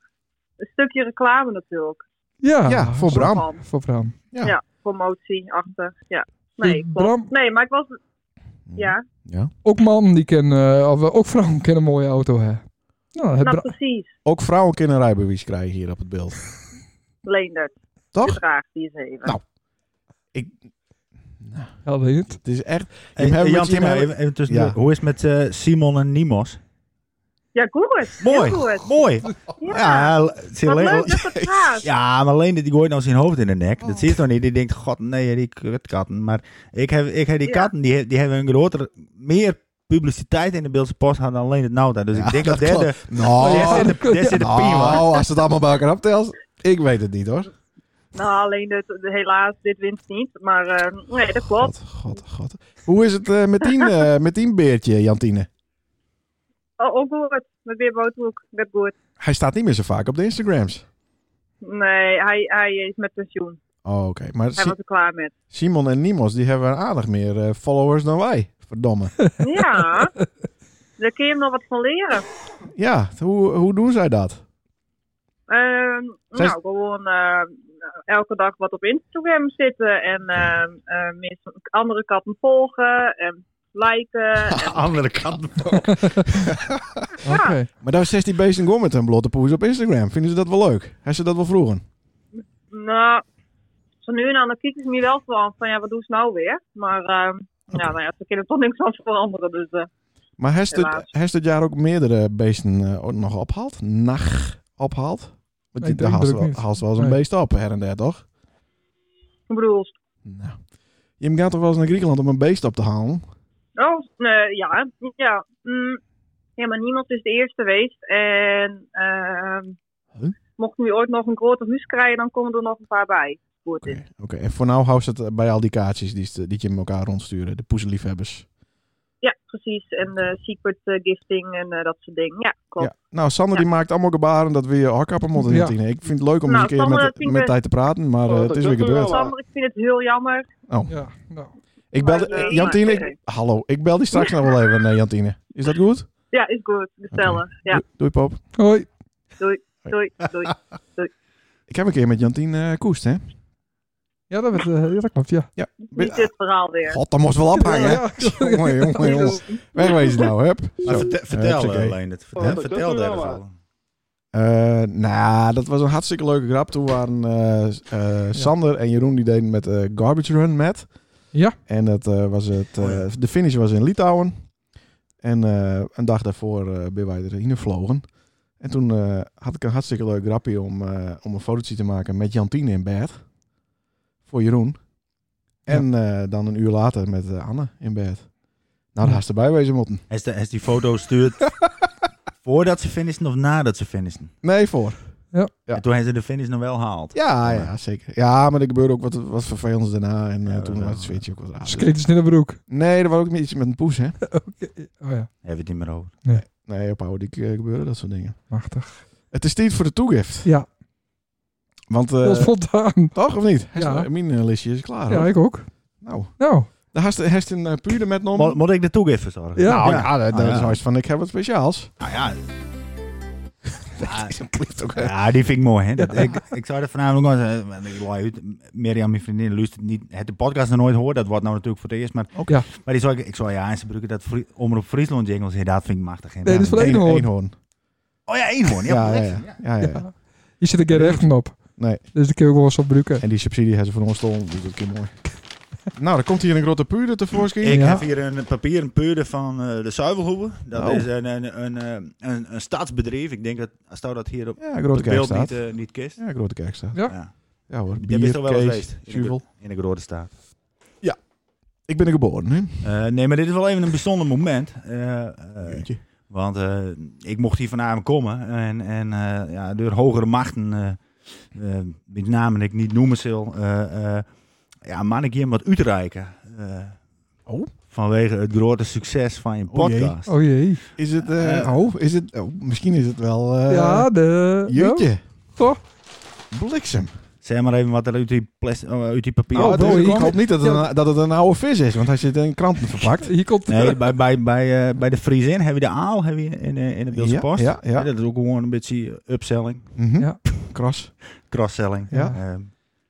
E: een stukje reclame natuurlijk.
B: Ja,
A: Ja, voor Bram.
E: Van,
B: Voor Bram.
A: Ja.
E: ja. promotie achter. Ja. Nee,
B: Dus
E: klopt.
B: Bram-
E: Nee, maar ik was... Ja,
B: Ook man die kennen, eh, of eh, ook vrouwen kennen een mooie auto hebben. Nou, het
E: nou
B: Bra-
E: precies.
A: Ook vrouwen kunnen een rijbewijs krijgen hier op het beeld.
E: Leendert, de
A: Toch?
E: vraag die is even.
A: Nou.
B: helder niet.
A: Het is echt...
C: Hey,
A: Jim
C: hey,
A: Harry,
C: Jan,
A: Jim
C: Tina,
A: Harry.
C: even, even tussendoor.
A: Ja.
C: Hoe is het met eh, Simon en Nimos?
E: Ja, goed.
C: Mooi,
E: Heel goed.
C: mooi.
E: Ja,
C: Ja, l- zie
E: wat
C: alleen-
E: leuk dat het gaat.
C: ja, maar alleen dat die gooit nou zijn hoofd in de nek.
F: Oh.
C: Dat zie je toch niet? Die denkt, god nee, die kutkatten. Maar ik heb, ik heb die
E: Ja.
C: katten, die, he- die hebben een groter, meer publiciteit in de Beeldse Post hadden dan alleen het Nauta. Dus ik denk dat, Oh, dat de,
A: klopt. Nou,
C: daar zit de, daar
B: Ja.
C: zit de pien, hoor.
A: nou, als het allemaal bij elkaar optelt, ik weet het niet hoor.
E: Nou, alleen dit, helaas, dit wint niet. Maar eh, nee, dat klopt.
A: God, god, god. Hoe is het eh, met, die, eh, met die beertje, Jantine?
E: Oh, ook goed. Met weer boothoek. Dat goed.
A: Hij staat niet meer zo vaak op de Instagrams.
E: Nee, hij, hij is met pensioen.
A: Oh, oké. Maar
E: Hij
A: Si-
E: was er klaar met.
A: Simon en Nimos, die hebben aardig meer eh, followers dan wij. Verdomme.
E: Ja. Daar kun je hem nog wat van leren.
A: ja, hoe, hoe doen zij dat?
E: Ehm,
A: Zij-
E: Nou, gewoon eh, elke dag wat op Instagram zitten. En eh, eh, mensen- andere katten volgen. En liken. En,
C: Andere kant.
B: Oké.
A: Maar daar zegt die beest en met een blote poes op Instagram. Vinden ze dat wel leuk? Hij ze dat wel vroegen?
E: nou, zo nu en dan dan kiek ik me wel van, van ja, wat doen ze nou weer? Maar ehm, ja, nou ja, ze kunnen toch niks aan veranderen. Dus eh,
A: Maar heeft het,
E: Helaas.
A: heeft dit jaar ook meerdere beesten eh, ook nog ophaald? Nacht ophaald? Want die-
B: Ik
A: daar
B: denk
A: haalt ze
B: het
A: wel,
B: niet.
A: haalt ze wel eens een
B: Nee.
A: beest op, her en der, toch?
E: ik bedoel,
A: Nou. Je gaat toch wel eens naar Griekenland om een beest op te halen?
E: Oh, eh, ja. Ja. Mm, ja, maar niemand is de eerste geweest. En ehm,
A: Huh?
E: mocht nu ooit nog een groter huis krijgen, dan komen er nog een paar bij. Goed
A: Oké,
E: is.
A: oké. en voor nou houdt het eh, bij al die kaartjes die, ze- die je met elkaar rondsturen. De poezenliefhebbers.
E: Ja, precies. En eh, secret eh, gifting en eh, dat soort dingen. Ja, klopt.
A: Ja. Nou, Sander die maakt allemaal gebaren dat we je hakkappen moeten,
B: Ja.
A: Jantine. Ik vind het leuk om eens
E: Nou,
A: een keer
E: Sander,
A: met,
E: dat vind
A: met
E: ik best.
A: tijd te praten, maar eh,
F: Oh,
A: het
F: dat
A: is weer
F: doet u wel.
A: gebeurd.
E: Sander, ik vind het heel jammer.
B: Ja, nou.
A: Ik bel,
E: Maar, eh,
A: Jantine,
E: maar,
A: ik- hallo, ik bel die straks nog wel even, eh, Jantine. Is dat goed?
E: Ja, is goed. Bestellen. Ja,
A: Doe- Doei, pop.
B: Hoi.
E: doei, doei.
A: <laughs> Ik heb een keer met Jantine eh, koest, hè?
B: Ja, dat, werd, eh, ja, dat klopt, ja.
E: Niet dit verhaal weer.
A: God, dat moest wel ophangen,
E: <laughs>
A: hè?
B: Ja,
A: Jongen, jongen, jongen. Wegwezen nou, hup.
C: Maar
A: Zo.
C: verte- vertel
A: Hupsakee.
C: alleen het.
F: Oh,
C: Vertel,
F: dat
C: vertel
F: doet u
C: daar
F: wel
C: eens
F: wat.
C: wel.
A: Eh, nou, dat was een hartstikke leuke grap. Toen waren eh, s- eh, Sander en Jeroen die deden met eh, Garbage Run met.
B: Ja.
A: En dat eh, was het. eh,
C: Oh ja.
A: De finish was in Litouwen. En eh, een dag daarvoor eh ben wij erheen gevlogen. En toen eh, had ik een hartstikke leuk grapje om, eh, om een fotootje te maken met Jantine in bed. Voor Jeroen. En eh, dan een uur later met eh, Anne in bed. Nou, daar had ze erbij wezen moeten.
C: Heeft de- heeft die
A: <laughs>
C: foto stuurt voordat ze finishen of nadat ze finishen?
A: Nee, voor. Ja.
C: En toen hebben ze de finish nog wel gehaald.
A: Ja,
C: Ja.
A: ja, zeker. Ja, maar er gebeurde ook wat, wat vervelends daarna. En eh,
C: Ja,
A: toen
C: wel.
A: was het switch ook wat raar.
B: Skaters in de broek.
A: Nee, er was ook niet iets met een poes, hè?
B: Oh ja,
C: Hebben we het niet meer over.
A: Nee, op oude dik eh, gebeuren dat soort dingen.
B: machtig.
A: Het is tijd voor de toegift.
B: Ja,
A: Want, eh,
B: dat was spontaan.
A: toch of niet?
B: Ja.
A: Ja. Mijn eh, listje is klaar,
B: Ja,
A: hoor.
B: ik ook.
A: Nou,
B: Nou,
A: daar heeft hij een eh, puurde met nom.
C: Mo- Moet ik de toegift verzorgen?
B: Ja.
A: nou ja, dat, dat
C: Ah, ja.
A: is juist van, ik heb wat
C: <laughs>
A: speciaals.
C: Nou
A: <laughs>
C: ja.
A: Dat is een plicht ook, hè?
C: Ja, die vind ik mooi. Hè? Dat, ik, ik zou dat vanavond nog eens... eh, want Ik laai uit. Mirjam, mijn vriendin, luistert niet, het de podcast nog nooit hoort. Dat wordt nou natuurlijk voor het eerst. Maar,
B: ook ja.
C: maar die zou ik, ik zou ja, en ze gebruiken dat Fri- Omroep Friesland jingles. Ja, dat vind ik machtig. hè.
B: Nee, dat is voor
A: Eén-
B: Eenhoorn.
A: Eenhoorn.
C: Oh ja, Eenhoorn. Ja,
A: Ja, ja,
C: correct.
A: ja. ja, ja, ja.
B: Ja. Je zit een keer recht op.
A: Nee.
B: Dus de kun je ook wel eens op bruken.
A: En die subsidie hebben ze voor ons stonden, dus dat is mooi. nou, er komt hier een grote puurde tevoorschijn.
C: Ik
B: Ja.
C: heb hier een papieren peurde van eh, de Zuivelhoeve. Dat
A: Oh.
C: is een, een, een, eh, een, een staatsbedrijf. Ik denk dat als jou dat hier op
A: Ja,
C: het
A: grote kerk
C: beeld
A: staat.
C: niet, eh, niet kist.
A: Ja, grote kerk staat.
B: Ja.
C: Ja.
A: Ja hoor,
C: Jij bent
A: bier,
C: toch wel eens
A: kees,
C: geweest in de,
A: zuivel.
C: gro- in de grote staat.
A: Ik ben er geboren, hè?
C: Eh, nee, maar dit is wel even een bijzonder moment. Eh, eh,
A: Jeetje.
C: want eh, ik mocht hier vanavond komen. En, en eh, ja, door hogere machten, eh, eh, met name ik niet noemen zal, eh, eh, ja, man ik hier wat uitreiken. eh,
A: Oh.
C: Vanwege het grote succes van je
A: Oh jee.
C: podcast.
B: Oh jee.
A: Is het, eh,
C: Eh,
A: oh, is het, oh, misschien is het wel, eh
B: ja, de...
A: jeetje.
B: Toch?
A: Bliksem.
C: Zeg maar even wat er uit die, plas- eh, uit die papier...
A: Nou, het is-
B: boy,
A: ik
B: hier
A: hoop
B: komt-
A: niet dat het, een, dat het een oude vis is, want hij zit in kranten verpakt.
B: Hier komt
C: Nee, bij, bij, bij, eh, bij de Friesin heb je de aal heb je in, eh, in de Beeldse
A: Ja,
C: Post.
A: ja, ja.
C: Dat is ook gewoon een beetje upselling,
A: Mhm.
B: Ja.
A: Kras.
C: cross-selling.
A: Ja.
C: Ehm,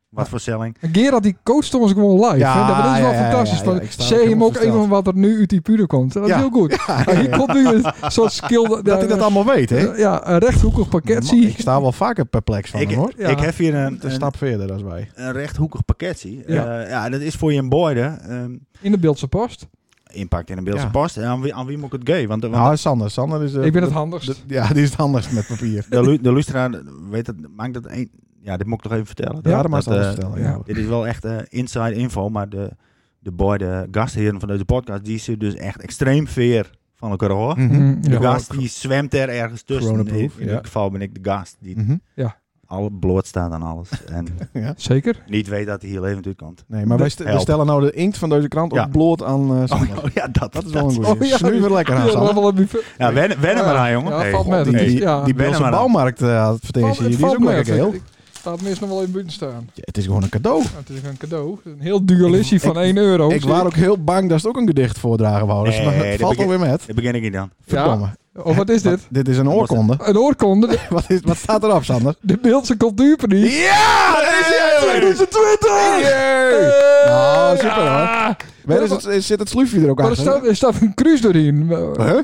C: wat voor selling.
B: Gerard die coacht ons gewoon live.
A: Ja,
B: hè. Dat is wel
A: ja, ja,
B: fantastisch.
A: ja,
B: Dan
A: ja. Ik sta ook
B: zie je hem
A: helemaal
B: ook even
A: versteld.
B: wat er nu uit die puur komt. Dat is
A: Ja.
B: heel goed. Maar hier komt nu
A: <laughs>
B: een soort skill...
A: Dat ik
B: eh,
A: dat allemaal weet, hè?
B: Ja, een rechthoekig pakket
A: Man,
B: zie
A: Ik sta wel vaker perplex van
C: Ik,
A: hem, hoor.
B: Ja.
C: ik heb hier
A: Een
C: een, een,
A: stap verder dan wij.
C: een rechthoekig pakketje.
B: Ja.
C: Ja. ja, dat is voor je een boyde. ehm,
B: in de Beeldse Post.
C: impact in een Beeldse
A: Ja.
C: Post. En aan wie, aan wie moet ik het geven? Want, want
A: Nou, Sander. Sander is... eh,
B: Ik ben het
A: de-
B: handigst.
A: de- Ja, die is het anders met papier.
C: de, lu- de luisteraar weet dat, maakt dat één. Ja, dit moet ik nog even vertellen.
A: Ja, dat mag
C: dat,
A: je anders
C: eh,
A: vertellen.
B: ja.
A: Ja. hoor.
C: Dit is wel echt eh, inside info, maar de, de boy, de gastheren van deze podcast, die zitten dus echt extreem veer van elkaar hoor.
A: Mhm.
B: Mm,
C: De
B: ja.
C: gast die zwemt er ergens tussen. In,
A: Coronaproof,
C: in
A: ja.
C: dit geval ben ik de gast die
A: Mhm.
C: alle bloot staat aan alles. En
A: Ja.
B: Zeker.
C: niet weet dat hij hier levend uitkomt.
A: Nee, maar wij, st- wij
C: Help.
A: stellen nou de inkt van deze krant
C: Ja.
A: op bloot aan eh,
C: Oh,
A: Sander.
C: ja, dat,
A: Dat is wel een goeie.
B: Oh, ja.
A: Snu weer lekker aan,
B: Ja,
A: Sander.
B: wel een buffet.
C: Ja, wennen, wennen maar aan, jongen.
B: Ja,
C: Hey,
B: valt
C: god,
B: met.
A: Die,
B: Het is-
A: die,
B: ja.
A: die
C: Ben
A: Beelse
C: er maar aan.
A: bouwmarkt eh,
B: Valt-
A: advertentie,
B: het
A: die is
B: valt
A: ook lekker
B: mee.
A: geel.
B: Ik Staat meestal wel in buiten staan.
A: Ja, het is gewoon een cadeau.
B: Nou, Het is een cadeau. Een heel duur listje
A: Ik-
B: van 1 euro.
A: Ik was ook heel bang dat ze ook een gedicht voordragen wouden. Dus
C: Nee,
A: maar het
C: dat
A: valt
C: begin-
A: alweer met.
C: Daar begin ik niet aan.
A: Verdomme.
B: Oh, wat is dit?
A: Wat- Dit is een
C: was het?
A: oorkonde.
B: Een oorkonde. De,
A: <laughs> Wat, is, wat staat erop, Sander?
B: de Beeldse cultuurprijs.
A: Ja, dat is hij!
B: 2020! Ah,
A: Nou, super hoor. Waar is het, is- zit het sloefje er ook
B: Maar er staat,
A: achter?
B: er staat een cruise doorheen.
A: Huh?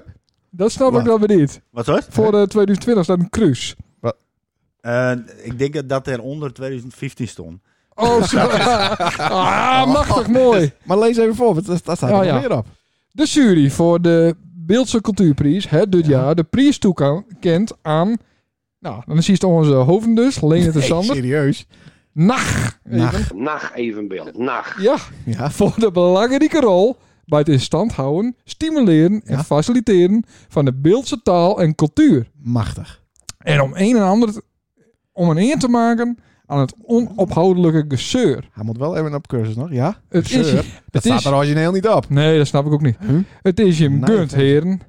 B: Dat snap
A: Wat?
B: ik dan weer niet.
C: Wat hoor?
B: Voor eh, 2020 staat een cruise.
C: Eh, ik denk dat dat er onder 2015 stond.
A: <laughs>
B: Oh, zo. ah, machtig mooi.
A: Maar lees even voor, want daar daar staat
B: Ja,
A: er nog
B: ja.
A: meer op.
B: De jury voor de Beeldse Cultuurprijs hè, dit
A: Ja.
B: jaar de prijs toekent aan... Nou, dan zie je het onze hoofden dus. Lene de
A: Nee,
B: Sander.
A: serieus.
B: Nacht.
A: Nacht.
B: Even.
D: Nacht evenbeeld. Nacht.
B: Ja,
A: Ja,
B: voor de belangrijke rol bij het in stand houden, stimuleren en
A: Ja.
B: faciliteren van de Beeldse taal en cultuur.
A: machtig.
B: En om een en ander te- om een eer te maken aan het onophoudelijke gezeur.
A: Hij moet wel even op cursus nog, ja?
B: Het is,
A: Gezeur.
B: het
A: Dat
B: is,
A: staat er origineel niet op.
B: Nee, dat snap ik ook niet.
A: Huh?
B: Het is je
A: Nee,
B: gunt,
A: dat Ah, is-
B: heren.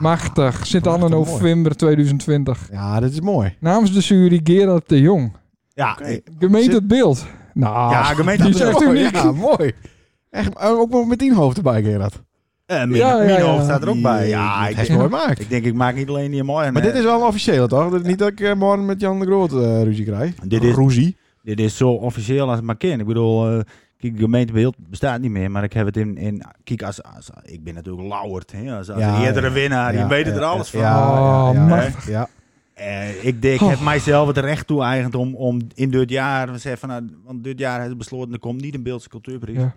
B: Machtig. Zit aan in
A: prachtig mooi.
B: november 2020.
A: Ja, dit is mooi.
B: Namens de jury Gerard de Jong.
C: Ja,
A: Oké.
B: Gemeente
A: Eh, Zit-
B: het beeld. Nou,
C: ja gemeente.
B: Die
A: Dat is
B: echt
A: mooi,
B: uniek.
A: Oh, Ja, mooi. Echt, eh, ook wel met tien hoofd erbij, Gerard.
C: Eh, Mino,
B: Ja, ja,
C: Mino
B: ja.
C: staat er ook bij. Ja,
A: ik
C: ik
A: is
C: denk,
A: mooi maakt.
C: ik denk, ik maak niet alleen die mooi. eh.
A: Maar dit is wel een officiële, toch? Dat- Niet dat ik eh, morgen met Jan de Groot eh, ruzie krijg.
C: Dit is-
A: Ruzie.
C: Dit is zo officieel als het maar kan. Ik bedoel, eh, kijk, de gemeentebeeld bestaat niet meer, maar ik heb het in... in kijk, als, als, ik ben natuurlijk lauwerd, hè, als, als
A: Ja,
C: een eerdere
A: ja.
C: winnaar. Die
A: Ja,
C: weet
A: ja,
C: er alles
A: ja,
C: van.
A: Ja,
B: Oh,
A: ja, ja,
B: machtig.
A: ja.
C: Eh, ik denk, ik
A: Oh.
C: heb mijzelf het recht toe-eigend om, om in dit jaar... we zeggen van, nou, want dit jaar hebben ze besloten, er komt niet een Beeldse cultuurprijs.
B: Ja.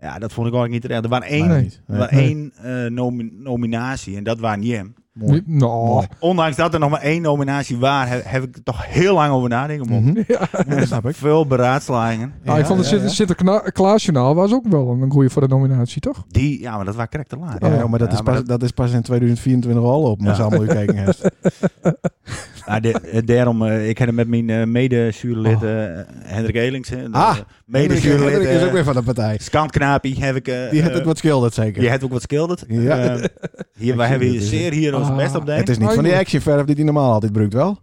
C: Ja. dat vond ik ook niet terecht. Er waren
A: Nee,
C: één,
A: nee, niet.
C: er
A: Nee.
C: waren
B: Nee.
C: één eh, nomi- nominatie en dat waren Jem.
A: Mooi.
B: Nou,
A: Mooi.
C: Ondanks dat er nog maar één nominatie was, heb, heb ik er toch heel lang over nadenken. mogen. <laughs>
A: Mhm. Ja, dat snap ik.
C: Veel beraadslagingen.
B: nou, ik vond het
A: ja,
B: Sinter-
A: ja.
B: Sinterklaasjournaal was ook wel een goede voor de nominatie, toch?
C: Die, ja, maar dat was correct te laat.
B: oh.
A: Ja, maar, dat, is pas, dat... is pas in 2024 al op, maar
C: Ja.
A: ze allemaal gekeken
C: <laughs>
A: heeft.
C: Ah, de- eh, daarom, eh, ik heb het met mijn eh, mede-jurylid eh, Hendrik Elings. hè, de-
A: Oh. Ah,
C: de
A: Hendrik Hendrik
C: mede-jurylid.
A: is ook
C: eh,
A: weer van de partij.
C: Skantknapie heb ik. eh,
A: Die heeft het
C: eh,
A: wat schilderd zeker.
C: die heeft ook wat skilderd.
A: Ja.
C: Eh, hier, wij
A: zie
C: hebben
A: het,
C: hier
A: is het.
C: zeer hier ons
B: Ah,
C: best op
A: Het
C: deed.
A: is niet van die actionverf die hij normaal altijd bruikt, wel?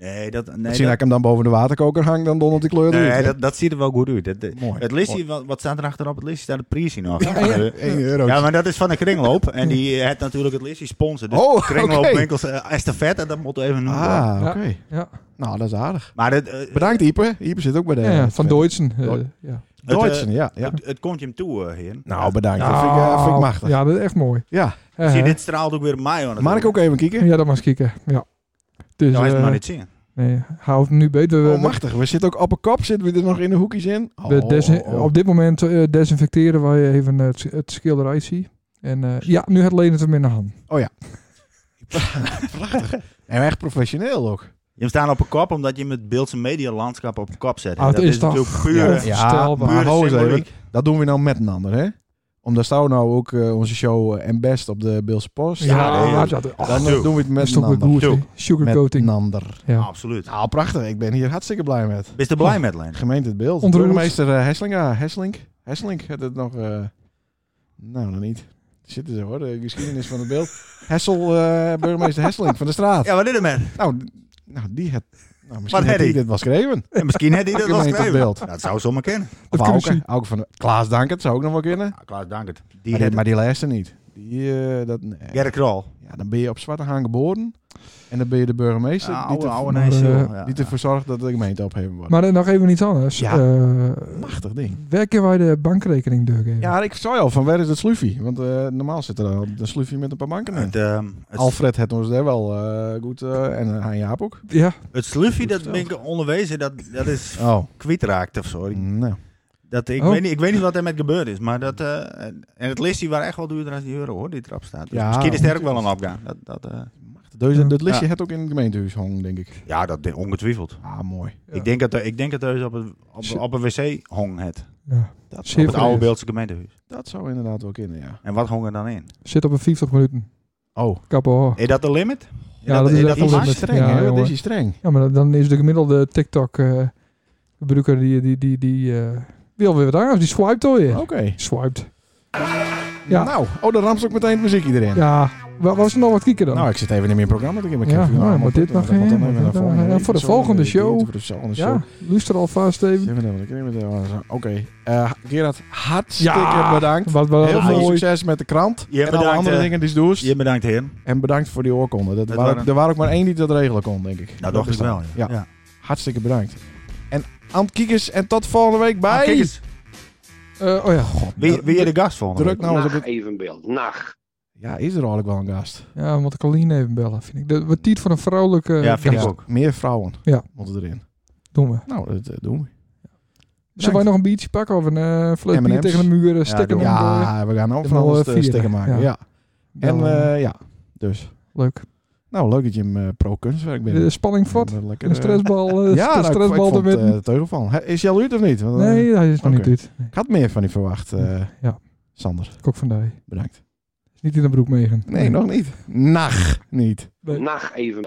C: Nee, dat, nee,
A: Misschien dat
C: dat,
A: ik hem dan boven de waterkoker hang, dan dondert die kleur
C: nee
A: eruit, hè?
C: dat, dat ziet er wel goed uit. Dat- dat-
A: Mooi.
C: Het listje, wat, wat staat er achterop? Het listje staat het prijsje nog.
A: Ja,
C: Eh,
A: 1 euro.
C: Ja, maar dat is van de kringloop. En die heeft natuurlijk het listje sponsor. Dus
A: Oh,
C: kringloopwinkels, eh, estafette, dat moet even noemen.
A: Ah, oké.
B: Ja.
A: Nou, dat is aardig.
C: Maar het, eh,
A: Bedankt, Ieper. Ieper zit ook bij de...
B: Ja, van Deutschen. eh,
A: Deu-
B: ja.
C: Het, eh,
A: Deutschen, ja, ja.
C: het, het komt je hem toe, eh, heer.
A: Nou, bedankt. Dat vind ik, eh, vind ik machtig. Ja.
B: Nou, Ja, dat is echt mooi. Eh,
C: Zie, dit straalt ook weer op mij. hoor,
A: Mag ik ook even kijken?
B: Ja, dat mag ik kieken. Ja. Dus,
C: Nou, hij het
B: eh,
C: maar niet zien.
B: nee, hou het nu beter. We-
A: Oh, machtig. We zitten ook op een kop. Zitten we er nog in de hoekjes in? Oh,
B: we dus- desin-
A: oh, <laughs> oh.
B: Op dit moment eh, desinfecteren wij even het, het schilderij zie. En eh, ja, nu het Lenen het hem in de hand.
A: En echt professioneel ook.
C: Je hem staan op een kop omdat je hem het beeldse medialandschap op een kop zet.
B: Ah,
C: dat
B: het
C: is,
B: is toch-
C: natuurlijk pure,
B: Ja. Onvoorstelbaar.
A: maar
C: pure
A: hou eens even.
C: symboliek.
A: Dat doen we nou met een ander, hè? Omdat zou nou ook eh, onze show eh, en best op de Beelse Post.
C: Ja, nee,
B: dat,
C: dat-
B: dat,
A: Dan
C: doe.
A: doen we het met
B: is
A: een
B: toch weer
A: ander.
B: goed.
C: Doe.
B: hè?
A: Met een
B: Sugarcoating.
A: ander.
B: Ja.
C: Absoluut.
A: Nou, prachtig. Ik ben hier hartstikke blij met.
C: Ben je er blij met, Leen?
A: Gemeente het beeld.
B: Ontroerd.
A: Burgemeester eh, Heslinga. Heslink. Heslink had het nog... eh, nou, nog niet. Zitten ze hoor, de geschiedenis van het beeld. Hessel, eh, burgemeester Hesselink van de straat.
C: Ja, wat is er met?
A: Nou, d- nou, die het. Nou, misschien
C: Wat
A: heb
C: had
A: ik
C: hij?
A: dit wel geschreven.
C: En misschien had hij dat wel
A: Gemeente
C: geschreven. Nou,
A: beeld.
C: Dat zou zomaar kennen.
A: Of
B: kan ik
A: Auke.
B: zien.
A: Auke van de, Klaas Dankert zou ook nog wel kunnen.
C: Ja, Klaas, dank het. Die
A: Maar die,
C: had-
A: maar die laatste niet. Die, eh, dat, nee.
C: Gerrit Krol.
A: ja, dan ben je op Zwarte Haan geboren. En dan ben je de burgemeester
C: Ja,
A: die,
C: oude,
A: te,
C: Nou, oude
B: maar,
C: Nijs,
B: eh,
C: joh. Ja,
A: die
C: ja.
A: ervoor zorgt dat de gemeente opgeheven wordt.
B: Maar dan nog even iets anders.
A: Ja.
B: Eh,
A: Machtig ding.
B: waar kunnen wij de bankrekening doorgeven?
A: Ja, ik zei al, van waar is het sloefie? Want eh, normaal zit er al een sloefie met een paar banken in.
C: Het, ehm het,
A: Alfred het ons daar wel eh, goed. eh, en uh, Hein Jaap ook.
B: Ja,
C: het sluffie,
A: Goed
C: dat ben ik onderwezen, dat, dat is
A: Oh,
C: kwijtraakt of zo.
A: nou.
C: Dat, ik,
B: Oh.
C: weet niet, ik weet niet wat er met gebeurd is, maar dat... eh, en het listie waren echt wel duurder dan die euro, hoor, die trap staat. Dus
A: Ja,
C: misschien is het ook wel een opgaan. Dat, dat, eh,
A: Dus
B: Ja.
A: dat listje
C: Ja.
A: het ook in het gemeentehuis hangen, denk ik.
C: ja, dat denk- ongetwijfeld.
A: Ah, mooi.
B: Ja.
C: Ik denk dat, eh, ik denk dat thuis op een, op,
B: Ze-
C: op een wc hong het.
B: ja.
A: Dat
B: Zeer
A: zou,
C: Op het
B: voor
C: oude
B: je.
C: Beeldse gemeentehuis.
A: dat zou inderdaad wel kunnen, ja.
C: En wat hong er dan in?
B: Zit op een 50 minuten.
A: Oh,
B: Kappo.
C: Is dat de limit? Is
B: Ja, dat is
C: is
B: echt
C: de
B: een
C: max?
A: dat
B: limit.
A: is streng,
B: Ja,
A: hè? Dat
B: jongen.
A: is hij streng.
B: Ja, maar dan is de gemiddelde TikTok eh, gebruiker die, die, die, die eh, wil weer wat anders. Die swiped al je.
A: Oké.
B: Swiped. Ja.
A: Nou, oh, dan ramt ze ook meteen het muziek iedereen.
B: Ja, wa- was er nog wat kieken dan?
A: Nou, ik zit even niet meer in het programma. Ik heb
B: Ja,
A: even-
B: nou,
A: allemaal
B: maar dit
A: goed,
B: mag
A: dan
B: geen,
A: dan
B: maar
A: even
B: dit
A: naar
B: mag-
A: eh, volgende
B: ja, voor de
A: show, dan
B: volgende
A: weer
B: show.
A: dit, Voor de volgende show.
B: ja, luister alvast even.
A: Zeven, dan wil ik er niet meer- eh, Oké. Eh, Gerard, hartstikke
B: Ja.
A: bedankt.
B: Wat, wat
A: Heel
B: heel
A: veel
B: mooi.
A: succes met de krant.
C: Je
A: en alle
C: bedankt,
A: andere
C: eh.
A: dingen die ze doet.
C: Je bedankt, heren.
A: En bedankt voor die oorkonde. Dat
C: Dat
A: waren,
C: waren-
A: Er waren ook maar één die dat regelen kon, denk ik.
C: Nou, dacht ik
A: is
C: wel.
A: dat.
C: Ja.
A: Ja. Hartstikke bedankt. En aan het kiekers en tot volgende week bij...
C: Ah, kijk eens.
B: Eh, oh ja.
C: Wie, wie je de gast volgende
A: Druk
C: week?
A: nou eens op
D: Nacht
A: het...
D: evenbeeld. Nacht.
A: Ja, is er eigenlijk wel een gast?
B: ja, we moeten Colleen even bellen, vind ik. De, wat tijd voor een vrouwelijke
C: Ja, vind ik
B: gast.
A: Ja,
C: ook.
A: Meer vrouwen
B: Ja.
A: moeten erin.
B: Doen we.
A: Nou, dat eh, doen we.
B: Zullen wij nog een biertje pakken of een eh fles bier
A: M&M's?
B: tegen de muur? eh, Stikken
C: doen
B: ja,
C: we.
A: Ja, we gaan ook
B: de
A: van alles
B: mooie
A: eh, stikken
B: vieren.
A: maken. Ja.
B: Ja.
A: En eh, ja, dus.
B: Leuk.
A: Nou, leuk dat je hem eh, pro-kunstwerk bent.
B: De spanning vat.
A: Eh, lekker,
B: Een
A: eh,
B: stressbal. eh,
A: <laughs> Ja,
B: een
A: nou, ik- ik
B: stressbal
A: vond,
B: ermee.
A: eh, de teugel van. Hè, Is hij al uit of niet? Want, eh,
B: nee, hij is nog
A: oké.
B: niet uit. Nee,
A: Ik had meer van die verwacht. eh,
B: Ja.
A: Sander,
B: Kok van Dij.
A: bedankt.
B: Is niet in de broek meegen.
A: Nee, nog niet. Nacht niet.
B: Nee.
D: Nacht evenbeeld.